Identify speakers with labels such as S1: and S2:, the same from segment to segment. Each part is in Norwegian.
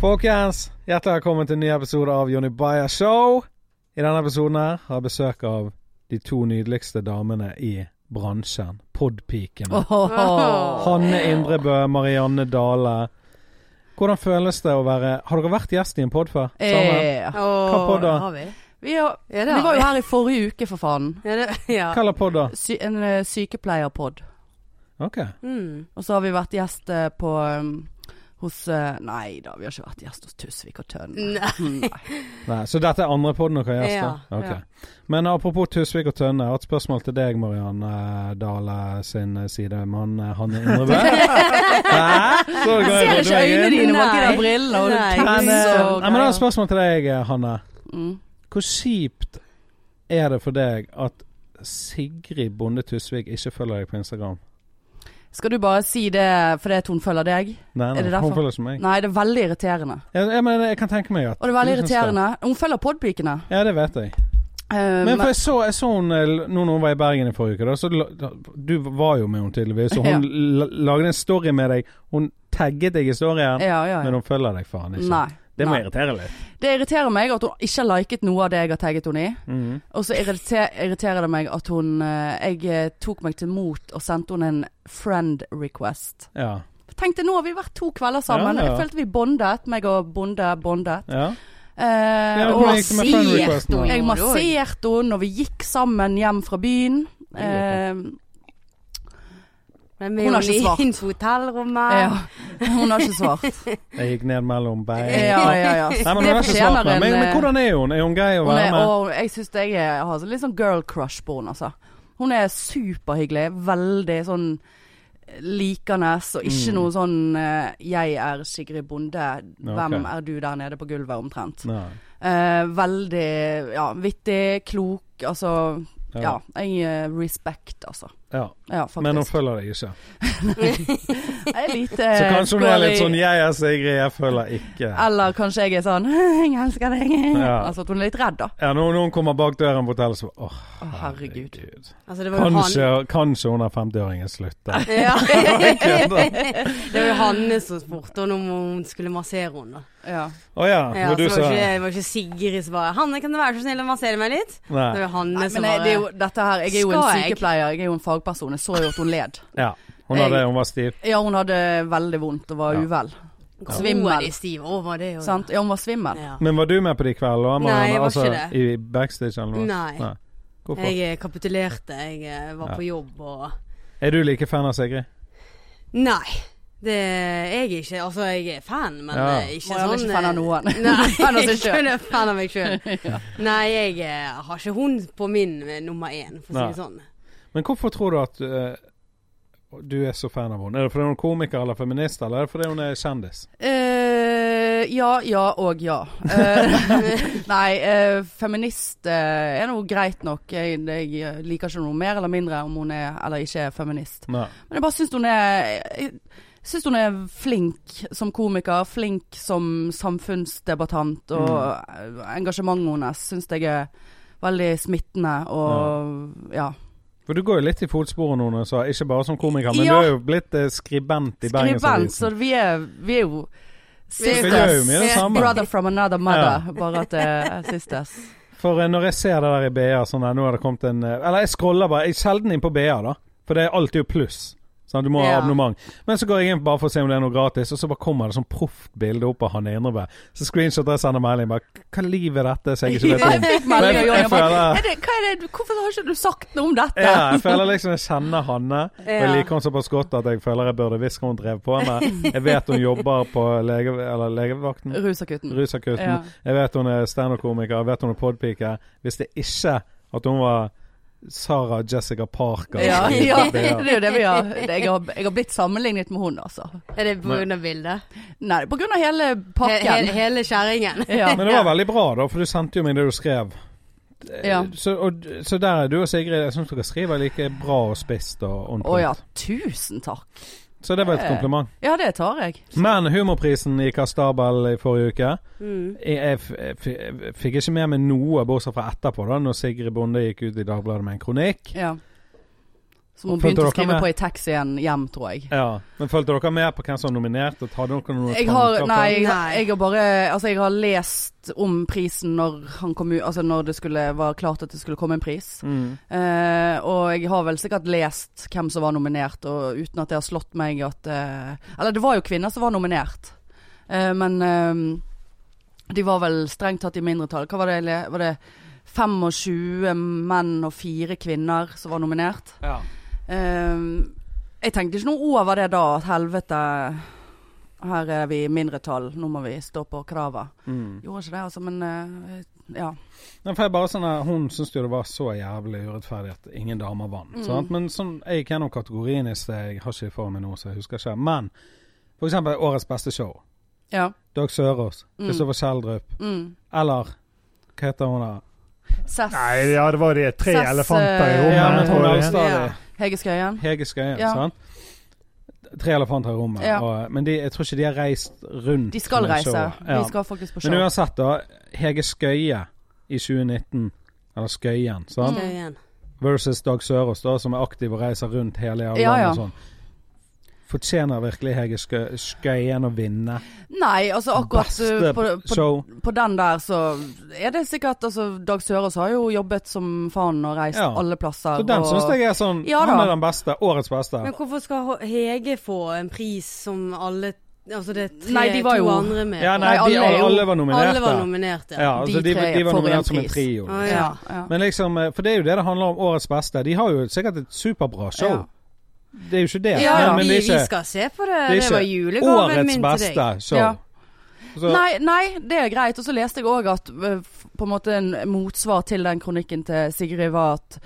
S1: Folkens, hjertelig velkommen til en ny episode av Jonny Bayer Show. I denne episoden her har jeg besøk av de to nydeligste damene i bransjen. Podpikene. Hanne Indrebø, Marianne Dale. Hvordan føles det å være Har dere vært gjest i en pod før? Sammen?
S2: Eh,
S1: Hva på da?
S3: har vi.
S2: vi, har,
S3: Ja, det
S2: vi
S3: har
S2: var jo
S3: vi.
S2: her i forrige uke, for faen.
S3: Ja, det, ja.
S1: Hva slags pod, da?
S2: Sy en eh, sykepleierpod.
S1: Ok.
S3: Mm.
S2: Og så har vi vært gjest eh, på um, hos eh, Nei da, vi har ikke vært gjest hos Tusvik og Tønne.
S3: Nei.
S2: Mm,
S1: Nei, så dette er andre poden dere har gjest? da?
S2: Ja, ja.
S1: Ok. Men apropos Tusvik og Tønne, jeg har et spørsmål til deg, Marianne Dale sin side. Mann eh, Hanne Indrebø. Hæ? Så går jeg rydde
S2: Ser ikke
S1: meg
S2: øynene
S1: inn.
S2: dine bak de
S3: Nei.
S2: der brillene og
S1: Men,
S3: Nei.
S1: eh,
S2: caps og
S1: nei, men da er et spørsmål til deg, eh, Hanne.
S2: Mm.
S1: Hvor kjipt er det for deg at Sigrid Bonde Tusvik ikke følger deg på Instagram?
S2: Skal du bare si det fordi at hun følger deg?
S1: Nei,
S2: Er
S1: nei,
S2: det derfor?
S1: hun følger ikke meg.
S2: Nei, det er veldig irriterende.
S1: Jeg, jeg, men jeg kan tenke meg at
S2: Og det er veldig
S1: du syns det.
S2: irriterende. Hun følger podpikene.
S1: Ja, det vet jeg.
S2: Eh,
S1: Men for jeg så, jeg så hun eh, l- nå når hun var i Bergen i forrige uke, da, så la- da, du var jo med henne tydeligvis, og hun la- lagde en story med deg. Hun tagget deg i storyen,
S2: ja, ja,
S1: men
S2: ja.
S1: hun følger deg faen ikke.
S2: Nei.
S1: Det må
S2: nei.
S1: irritere litt.
S2: Det irriterer meg at hun ikke har liket noe av det jeg har tagget henne i.
S1: Mhm.
S2: Og så irriter, irriterer det meg at hun eh, Jeg eh, tok meg til mot og sendte henne en friend request.
S1: Ja.
S2: Tenk deg nå, har vi vært to kvelder sammen.
S1: Ja, ja.
S2: Jeg følte vi bondet. Meg og Bonde bondet.
S1: ja.
S2: Eh,
S1: Ja,
S2: og
S1: hvordan gikk det med friend
S3: masserte
S1: requesten? da?
S3: hun?
S2: jeg masserte henne, og vi gikk sammen hjem fra byen. Eh,
S3: Men vi
S2: Hun
S3: er
S2: har
S3: jo
S2: ikke svart.
S3: inn på hotellrommet.
S2: ja. Hun har ikke svart.
S1: Jeg gikk ned mellom beina.
S2: Ja, ja, ja.
S1: Nei, men, hun har ikke svart meg. men, men hvordan er hun? Er hun grei å
S2: Hun
S1: være
S2: er,
S1: med?
S2: og jeg syns jeg er- har litt sånn girl crush på henne, altså. Hun er superhyggelig. Veldig sånn likende, og
S1: Mm.
S2: ikke noe sånn eh, 'jeg er Sigrid Bonde, hvem
S1: ok.
S2: er du der nede på gulvet?' omtrent.
S1: Nei.
S2: Eh, veldig ja, vittig, klok, altså
S1: Ja.
S2: Ja, jeg eh, respect, altså.
S1: Ja.
S2: Ja, faktisk.
S1: Men hun følger deg ikke.
S2: Jeg er litt
S3: Eh,
S1: Så kanskje hun er litt sånn
S2: ja.
S1: 'jeg er Sigrid, jeg følger ikke'.
S2: Eller kanskje jeg er sånn 'jeg elsker deg'.
S1: Ja.
S2: Altså at hun er litt redd, da.
S1: Ja, når når hun kommer bak døren på hotellet, så åh,
S2: Å, herregud.
S3: Altså, det var jo
S1: Kanskje,
S3: han.
S1: kanskje hun er 50-åringen slutter.
S3: Ja.
S1: kødder.
S3: det var jo Hanne som spurte henne om hun skulle massere henne. da.
S2: Ja.
S1: Å ja,
S3: Ja,
S1: når du
S3: så
S1: sa
S3: var ikke, det var ikke Sigrid som bare 'Hanne, kan du være så snill å massere meg litt?' Det var
S1: Nei.
S3: jo Hanne
S2: Nei,
S3: som
S2: men jeg,
S3: bare
S2: det er jo, dette her, jeg er jo en
S3: Skal jeg?
S2: sykepleier, jeg er jo en fagperson. Jeg så jo at hun led.
S1: Ja. Hun hadde det, hun var stiv.
S2: Ja, hun hadde veldig vondt og var
S1: Ja.
S2: uvel.
S3: Groa
S2: svimmel.
S3: de stiv over det. Og,
S2: Sant? Ja, hun var svimmel.
S3: Ja.
S1: Men var du med på de kveldene?
S3: Nei, jeg var
S1: altså,
S3: ikke det.
S1: I backstage eller noe?
S3: Nei.
S1: Hvorfor?
S3: Jeg eh, kapitulerte. Jeg eh, var
S1: Ja.
S3: på jobb og
S1: Er du like fan av Sigrid?
S3: Nei. Det jeg er ikke. Altså, jeg er fan, men
S1: Ja.
S3: eh, ikke
S2: Marianne er
S3: sånn
S2: ikke fan av
S3: eh,
S2: noen.
S3: Nei,
S2: Fan av seg
S3: ikke
S2: selv.
S3: noe fan av meg sjøl. Nei, jeg eh, har ikke hun på min eh, nummer én, for å si det sånn.
S1: Men hvorfor tror du at eh, du er så fan av henne? Er det fordi hun er komiker eller feminist, eller er det fordi hun er kjendis?
S2: Eh, ja, ja og ja. Eh, nei, eh, feminist eh, er nå greit nok. Jeg, jeg liker ikke noe mer eller mindre om hun er eller ikke er feminist.
S1: Nei.
S2: Men jeg bare syns hun er jeg Syns hun er flink som komiker, flink som samfunnsdebattant, og
S1: Mm.
S2: engasjementet hennes syns jeg er veldig smittende og ja.
S1: For du går jo litt i fotsporene nå, når du sa, ikke bare som komiker, men
S2: Ja.
S1: du er jo blitt eh, skribent i
S2: Skribent, så
S1: Bergensavisen.
S2: vi er, vi er jo
S3: Vi
S1: gjør jo mye det
S2: sisters.
S1: samme.
S2: Brother from another mother, bare at det er sisters.
S1: For eh, når jeg ser det der i BA, sånn der, nå er det kommet en eh, Eller jeg scroller bare, jeg er sjelden inn på BA, da. For det er alltid jo pluss. Sånn, du må ha
S3: Ja.
S1: abonnement. Men så går jeg inn bare for å se om det er noe gratis, og så bare kommer det sånn proft bilde opp av Hanne Indrebø. Så screenshoter jeg sender melding bare Hva liv er dette som jeg ikke vet
S2: Ja, jeg
S1: om?
S2: fikk melding av
S1: Men
S2: Jonny.
S1: jeg
S2: Jeg bare,
S1: føler-
S2: "Er det- hva er det- Hvorfor har ikke du sagt noe om dette?
S1: Ja, jeg føler liksom jeg kjenner Hanne, og jeg
S3: Ja.
S1: liker henne såpass godt at jeg føler jeg burde visst hva hun drev på med. Jeg vet hun jobber på lege, eller legevakten.
S2: Rusakutten.
S1: Rusakutten.
S2: Ja.
S1: Jeg vet hun er standup-komiker, jeg vet hun er podpike. Hvis det ikke at hun var Sarah Jessica Parker
S2: Ja,
S1: så-
S2: ja, det
S1: det-
S2: er jo det vi har. det- Jeg har, jeg har blitt sammenlignet med hun, altså.
S3: Er det pga. bildet?
S2: Nei, på grunn av hele
S3: He he
S2: pakken.
S3: hele kjerringen?
S2: Ja.
S1: Men det var veldig bra, da, for du sendte jo meg det du skrev.
S2: Ja.
S1: Så, og, så der er du og Sigrid. Jeg syns dere skriver like bra og spisst og on
S2: Å
S1: point.
S2: ja, tusen takk.
S1: Så det var et kompliment.
S2: Ja, det tar jeg.
S1: Men humorprisen gikk av stabel i forrige uke.
S3: Mm.
S1: Jeg, jeg, f- jeg, f- jeg fikk ikke med meg noe, bortsett fra etterpå, da når Sigrid Bonde gikk ut i Dagbladet med en kronikk.
S2: Ja. Som hun
S1: Følte
S2: begynte å
S1: dere
S2: skrive
S1: med?
S2: på i taxien hjem, tror jeg.
S1: Ja. Men fulgte dere med på hvem som var nominert? Og hadde dere noen
S2: Jeg har,
S1: tanker på-
S2: nei, jeg,
S3: Nei.
S2: jeg har bare Altså, jeg har lest om prisen når han kom ut Altså, når det skulle var klart at det skulle komme en pris.
S1: Mm.
S2: Eh, og jeg har vel sikkert lest hvem som var nominert, og uten at det har slått meg at eh, Eller det var jo kvinner som var nominert, Eh, men eh, de var vel strengt tatt i mindretall. Hva var det? Le- Var det 25 menn og fire kvinner som var nominert?
S1: Ja.
S2: Eh, jeg tenkte ikke noe over det da, at helvete her er vi i mindretall, nå må vi stå på kravet.
S1: Mm.
S2: Gjorde ikke det, altså, men eh, ja.
S1: Nei, for jeg bare sånn her, Hun syntes jo det var så jævlig urettferdig at ingen damer vant.
S2: Mm.
S1: Sant? Men sånn, jeg gikk gjennom kategorien i sted, jeg har ikke for meg nå, så jeg husker ikke. Men for eksempel Årets beste show.
S2: ja.
S1: Dag Sørås,
S2: Mm.
S1: Kristoffer Schjelderup,
S2: Mm.
S1: eller hva heter hun da?
S2: Sess.
S4: Nei, ja, det var de tre
S2: Sess,
S4: elefanter i
S2: eh,
S4: rommet.
S1: Ja,
S2: men
S4: jeg
S1: men
S4: tror
S1: hun er
S4: det.
S1: stadig
S3: Ja.
S2: Hege Skøyen.
S1: Hege Skøyen,
S2: Ja.
S1: sant? Tre elefanter i rommet.
S2: Ja.
S1: Og, men de, jeg tror ikke de har reist rundt
S2: De skal
S1: med
S2: reise.
S1: showet.
S2: De skal faktisk på show.
S1: Men uansett, da. Hege Skøye i 2019, eller Skøyen, sant?
S3: Skal igjen.
S1: versus Dag Sørås, da, som er aktiv og reiser rundt hele jævla
S2: Ja,
S1: landet
S2: ja.
S1: og sånn. Fortjener virkelig Hege Skø- Skøyen å vinne
S2: Nei, altså akkurat
S1: beste
S2: uh, på, på,
S1: show?
S2: på den der så er det sikkert altså, Dag Sørås har jo jobbet som faen og reist
S1: Ja.
S2: alle plasser.
S1: Så den
S2: og,
S1: syns jeg er sånn
S2: Ja
S1: Han
S2: da.
S1: er den beste. Årets beste.
S3: Men hvorfor skal H- Hege få en pris som alle Altså det er tre,
S2: Nei, de var
S3: to
S2: jo-
S3: andre med.
S1: Ja, nei,
S2: Nei,
S1: de,
S2: alle er
S1: alle,
S2: jo-
S1: alle var nominerte.
S3: Alle var nominerte.
S1: ja, altså,
S2: De
S1: de,
S2: tre
S1: de var
S2: får en
S1: nominert som en
S2: pris.
S1: trio.
S3: Å,
S2: Ja, ja.
S1: Men liksom, eh, for det er jo det det handler om. Årets beste. De har jo sikkert et superbra show.
S2: Ja.
S1: Det er jo ikke det.
S3: Ja,
S1: men,
S2: ja.
S1: men det er
S3: vi, vi
S1: ikke
S3: skal se på det.
S1: er
S3: Det,
S1: ikke
S3: var julegaven
S1: årets
S3: min til deg.
S1: beste show.
S2: Ja.
S1: Så,
S2: Nei, nei, det er greit. Og så leste jeg òg at eh, f- på en måte en motsvar til den kronikken til Sigrid var at,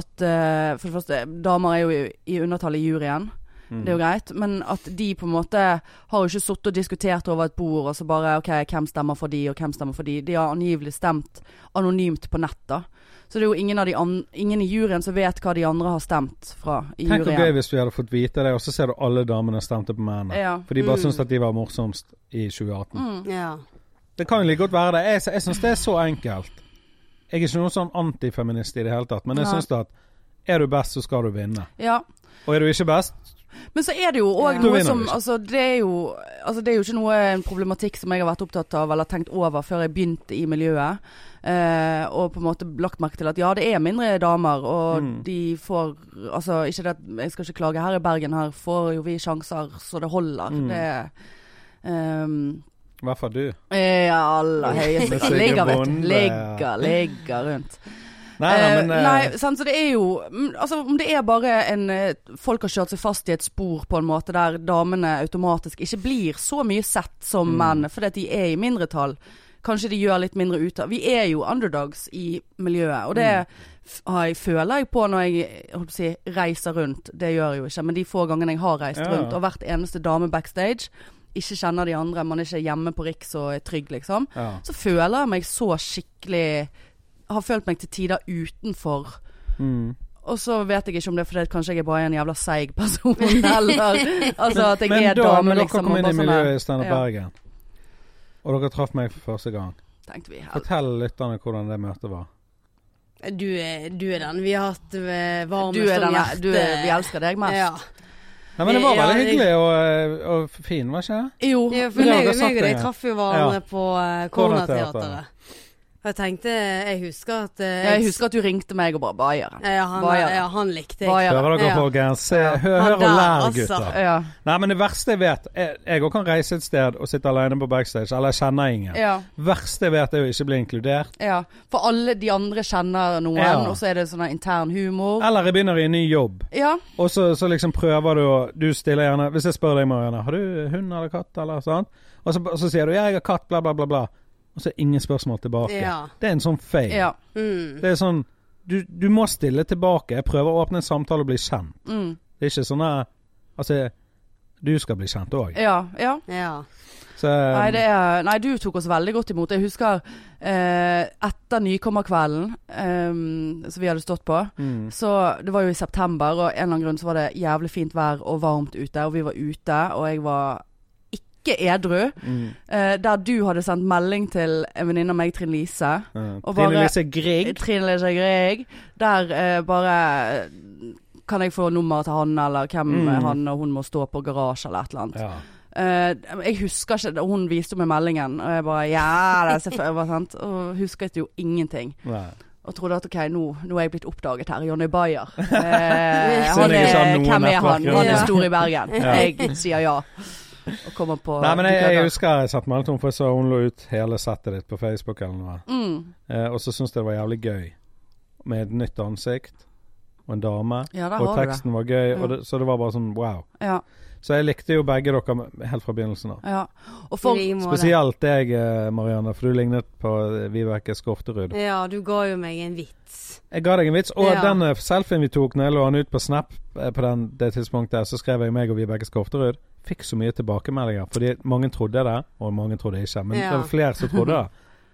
S2: at eh, for det første, damer er jo i, i undertall i juryen.
S1: Mm.
S2: Det er jo greit, men at de på en måte har jo ikke sittet og diskutert over et bord og så bare OK, hvem stemmer for de, og hvem stemmer for de. De har angivelig stemt anonymt på nett, da. Så det er jo ingen, av de an ingen i juryen som vet hva de andre har stemt fra i
S1: tenk hvor gøy
S2: juryen.
S1: hvis vi hadde fått vite det, og så ser du alle damene stemte på mennene.
S2: Ja.
S1: For de bare
S3: Mm.
S1: syns at de var morsomst i 2018.
S2: Mm.
S3: Ja.
S1: Det kan jo like godt være det. Jeg, jeg syns det er så enkelt. Jeg er ikke noen sånn antifeminist i det hele tatt, men jeg
S2: Nei.
S1: syns at er du best, så skal du vinne.
S2: ja.
S1: Og er du ikke best
S2: Men så er det jo òg
S1: Da
S3: Ja.
S2: noe
S1: vinner
S2: som
S1: vi ikke.
S2: altså, det, er jo, altså, det er jo ikke noe en problematikk som jeg har vært opptatt av eller tenkt over før jeg begynte i miljøet. Eh, og på en måte lagt merke til at ja, det er mindre damer, og
S1: Mm.
S2: de får Altså, ikke det at jeg skal ikke klage. Her i Bergen her får jo vi sjanser så det holder.
S1: Mm.
S2: Det er ehm,
S1: I hvert fall du.
S2: eh, ja, aller
S1: Men
S2: høyeste
S1: så er det
S2: Ligger, vet
S1: bonde.
S2: du. Ligger, ligger rundt.
S1: Nei, nei, men
S2: Eh,
S1: eh,
S2: nei, sant, så det er jo mm, Altså, om det er bare en eh, Folk har kjørt seg fast i et spor på en måte der damene automatisk ikke blir så mye sett som
S1: Mm.
S2: mennene, fordi at de er i mindretall. Kanskje de gjør litt mindre ut av Vi er jo underdogs i miljøet, og
S1: Mm.
S2: det f- har jeg, føler jeg på når jeg eh, holdt på å si, reiser rundt. Det gjør jeg jo ikke, men de få gangene jeg har reist
S1: Ja.
S2: rundt, og hvert eneste dame backstage ikke kjenner de andre, man er ikke hjemme på Riks og er trygg, liksom
S1: ja.
S2: så føler jeg meg så skikkelig Har følt meg til tider utenfor.
S1: Mm.
S2: Og så vet jeg ikke om det er fordi at kanskje jeg bare er en jævla seig person, eller altså at jeg
S1: Men
S2: er
S1: da
S2: dame,
S1: men dere
S2: liksom.
S1: kom
S2: og
S1: inn i
S2: bare sånn
S1: miljøet
S2: her,
S1: i Steinar
S2: Ja.
S1: Bergen, og dere traff meg for første gang,
S2: Tenkte vi her.
S1: fortell lytterne hvordan det møtet var.
S3: Du, er, du er den vi har hatt eh, varmest
S2: Du er
S3: om
S2: denne,
S3: hjertet.
S2: du er, vi elsker deg mest.
S3: Ja.
S1: Nei, men det var
S3: Ja,
S1: veldig
S3: det-
S1: hyggelig og, eh, og fin, var ikke det?
S2: Jo.
S3: Ja, for
S1: Men det har
S3: meg,
S1: dere sagt
S3: meg og
S1: det.
S3: deg traff jo hverandre på uh,
S1: Koronateateret.
S3: Koronateatret. Og jeg tenkte Jeg husker at eh,
S2: Jeg husker at du ringte meg og bare Bayern.
S3: ja, han,
S2: Hva gjør det?
S3: ja, han likte
S2: Hva
S3: jeg.
S2: gjør det?
S1: Hører dere,
S3: Ja.
S1: folkens? Se, hør,
S3: Ja,
S1: hør og
S3: der,
S1: lær,
S3: altså.
S1: gutter.
S2: Ja.
S1: Nei, men det verste jeg vet Jeg jeg også kan reise et sted og sitte alene på backstage, eller jeg kjenner ingen.
S2: ja.
S1: verste jeg vet, er jo ikke bli inkludert.
S2: Ja. For alle de andre kjenner noen,
S1: Ja.
S2: og så er det sånn her intern humor.
S1: Eller jeg begynner i en ny jobb,
S2: Ja.
S1: og så, så liksom prøver du å Du stiller gjerne Hvis jeg spør deg, Marianne, har du hund eller katt, eller sånn? Og så, så sier du ja, jeg har katt, bla, bla, bla, bla. Og så er ingen spørsmål tilbake.
S3: Ja.
S1: Det er en sånn feil.
S2: ja.
S3: Mm.
S1: Det er sånn du, du må stille tilbake. Jeg prøver å åpne en samtale og bli kjent.
S2: Mm.
S1: Det er ikke sånn eh, Altså, du skal bli kjent òg.
S2: Ja. Ja.
S3: Ja.
S1: Så
S2: Eh, Nei, det er, nei, du tok oss veldig godt imot. Jeg husker eh, etter nykommerkvelden eh, som vi hadde stått på.
S1: mm,
S2: Så Det var jo i september, og en eller annen grunn så var det jævlig fint vær og varmt ute. Og vi var ute, og jeg var ikke edru.
S1: mm,
S2: Eh, der du hadde sendt melding til en venninne av meg, Trine Lise.
S1: ja.
S2: Og
S1: Trine
S2: bare-
S1: Lise Grieg.
S2: Trine Lise Grieg. Der eh, bare Kan jeg få nummeret til han, eller hvem er han, og hun må stå på garasje, eller et eller annet.
S1: Ja.
S2: Eh, jeg husker ikke det, Hun viste meg meldingen, og jeg bare Ja, det er selvfølgelig bare sant. Og husket jo ingenting.
S1: Nei.
S2: Og trodde at OK, nå, nå er jeg blitt oppdaget her. Jonny Bayer. Eh,
S1: Synd
S2: han
S1: jeg ikke har
S2: er,
S1: noen
S2: hvem er han?
S1: nettverk,
S2: Han er
S3: ja.
S2: stor i Bergen.
S1: Ja.
S2: Jeg sier ja. Og kommer på
S1: Nei, men jeg, jeg
S2: dukker.
S1: husker jeg satt med henne, for jeg så hun lå ut hele settet ditt på Facebook eller noe.
S2: Mm.
S1: Eh, og så syntes jeg det var jævlig gøy med et nytt ansikt og en dame.
S2: Ja,
S1: Og
S2: der har du Mm. det.
S1: teksten var gøy,
S2: Ja.
S1: og det, så det var bare sånn wow.
S2: Ja,
S1: Så jeg likte jo begge dere med- helt fra begynnelsen av.
S2: ja. Og for
S3: I like måte.
S1: Spesielt deg, eh, Marianne, for du lignet på eh, Vibeke Skofterud.
S3: Ja, du ga jo meg en vits.
S1: Jeg ga deg en vits, og
S3: Ja.
S1: den eh, selfien vi tok når jeg lå han ut på Snap eh, på den, det tidspunktet, der, så skrev jeg meg og Vibeke Skofterud. Fikk så mye tilbakemeldinger, fordi mange trodde det, og mange trodde ikke. Men
S3: Ja.
S1: det var flere som trodde det.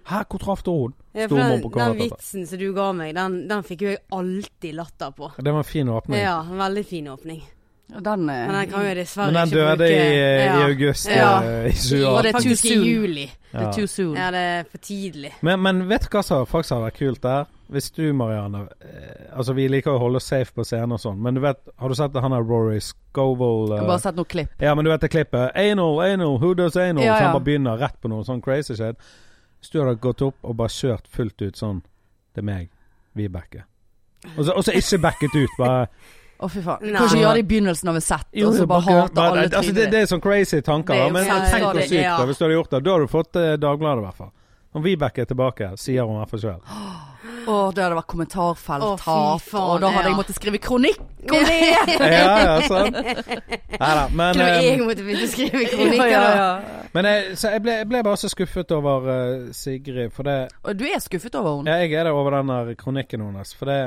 S1: Hæ, hvor traff du hun?
S3: Ja, for
S1: Stormor
S3: den,
S1: på
S3: den
S1: Karatata.
S3: vitsen som du ga meg, den, den fikk jo jeg alltid latter på.
S1: Det var en fin åpning.
S3: Ja, en veldig fin åpning.
S2: Og den er
S3: Men den kan jo jeg dessverre
S1: Men den
S3: ikke
S1: døde i, eh,
S3: bruke.
S1: i august
S3: Ja.
S1: eh, i
S2: Var
S1: 2018.
S2: det
S3: Faktisk
S2: too soon?
S3: i juli.
S2: Det er
S1: Ja.
S2: too soon.
S3: Ja, det er for tidlig.
S1: Men, men vet du hva som faktisk hadde vært kult der? Hvis du, Marianne eh, Altså, vi liker å holde oss safe på scenen og sånn, men du vet Har du sett han der Rory Scovel
S2: Jeg
S1: eh,
S2: har bare sett noen klipp.
S1: Ja, men du vet det klippet? Anal, anal, who does anal?
S2: Ja,
S1: Så
S2: ja.
S1: han bare begynner rett på noe sånn crazy shit. Hvis du hadde gått opp og bare kjørt fullt ut sånn Det er meg, Vibeke. Og så og så ikke backet ut, bare
S2: Å, fy faen.
S3: Nei.
S2: Kan ikke gjøre det i begynnelsen av et sett,
S1: Jo,
S2: og så
S1: jo,
S2: bare hater
S1: bare-
S2: alle
S1: altså, det,
S2: trynet
S1: det
S2: ditt.
S1: er sånn crazy tanker,
S3: Det er jo
S1: men
S2: sånn
S3: helt
S1: tenk hvor
S3: farlig,
S1: sykt
S3: ja.
S1: da, hvis du hadde gjort det. Da hadde du fått eh, Dagbladet, i hvert fall. Om Vibeke er tilbake, sier hun i hvert fall selv.
S2: Å, det hadde vært kommentarfelt,
S3: Å, fy
S2: tap,
S3: faen,
S2: og da hadde
S3: ja.
S2: jeg måttet skrive kronikk om det!
S1: Ja, ja, sant. Neida, men,
S3: Når jeg
S1: eh,
S3: måtte begynne å skrive
S2: Ja,
S3: kronikker,
S2: ja,
S3: da.
S2: ja.
S1: men jeg, så jeg, ble, jeg ble bare så skuffet over eh, Sigrid, for det
S2: Og du er skuffet over henne?
S1: ja, Jeg er det over den der kronikken hennes, for det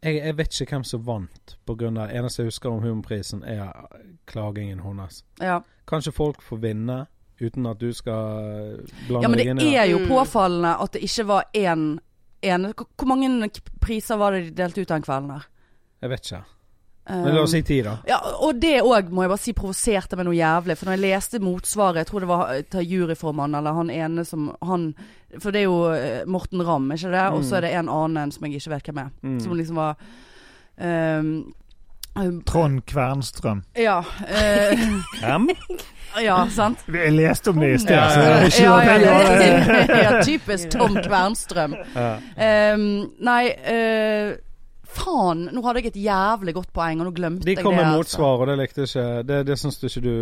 S1: jeg, jeg vet ikke hvem som vant, på grunn av Eneste jeg husker om Humorprisen, er eh, klagingen hennes.
S2: Ja.
S1: Kanskje folk får vinne uten at du skal eh,
S2: ja,
S1: blande
S2: men
S1: deg inn i
S2: det
S1: det.
S2: er jo
S3: Mm.
S2: påfallende at det ikke var én en, Hvor hvor mange k- priser var det de delte ut den kvelden her?
S1: Jeg vet ikke.
S2: Um,
S1: Men la oss si ti, da.
S2: Ja, og det òg må jeg bare si provoserte meg noe jævlig. For når jeg leste motsvaret, jeg tror det var eh, til juryformannen eller han ene som han For det er jo eh, Morten Ramm, ikke det? Og så er det en annen som jeg ikke vet hvem er.
S1: Mm.
S2: Som liksom var ehm, um,
S4: Trond Kvernstrøm.
S2: Ja. eh, ja, sant?
S4: Jeg leste om det i sted,
S1: Ja,
S4: så det er ikke
S2: ja, ja,
S4: noe jeg
S2: ja, ja, typisk Tom Kvernstrøm.
S1: Ja.
S2: Ehm, nei eh, Faen, nå hadde jeg et jævlig godt poeng, og nå glemte
S1: De
S2: jeg det.
S1: kom med
S2: altså.
S1: motsvar, og det likte ikke Det, det syns du ikke du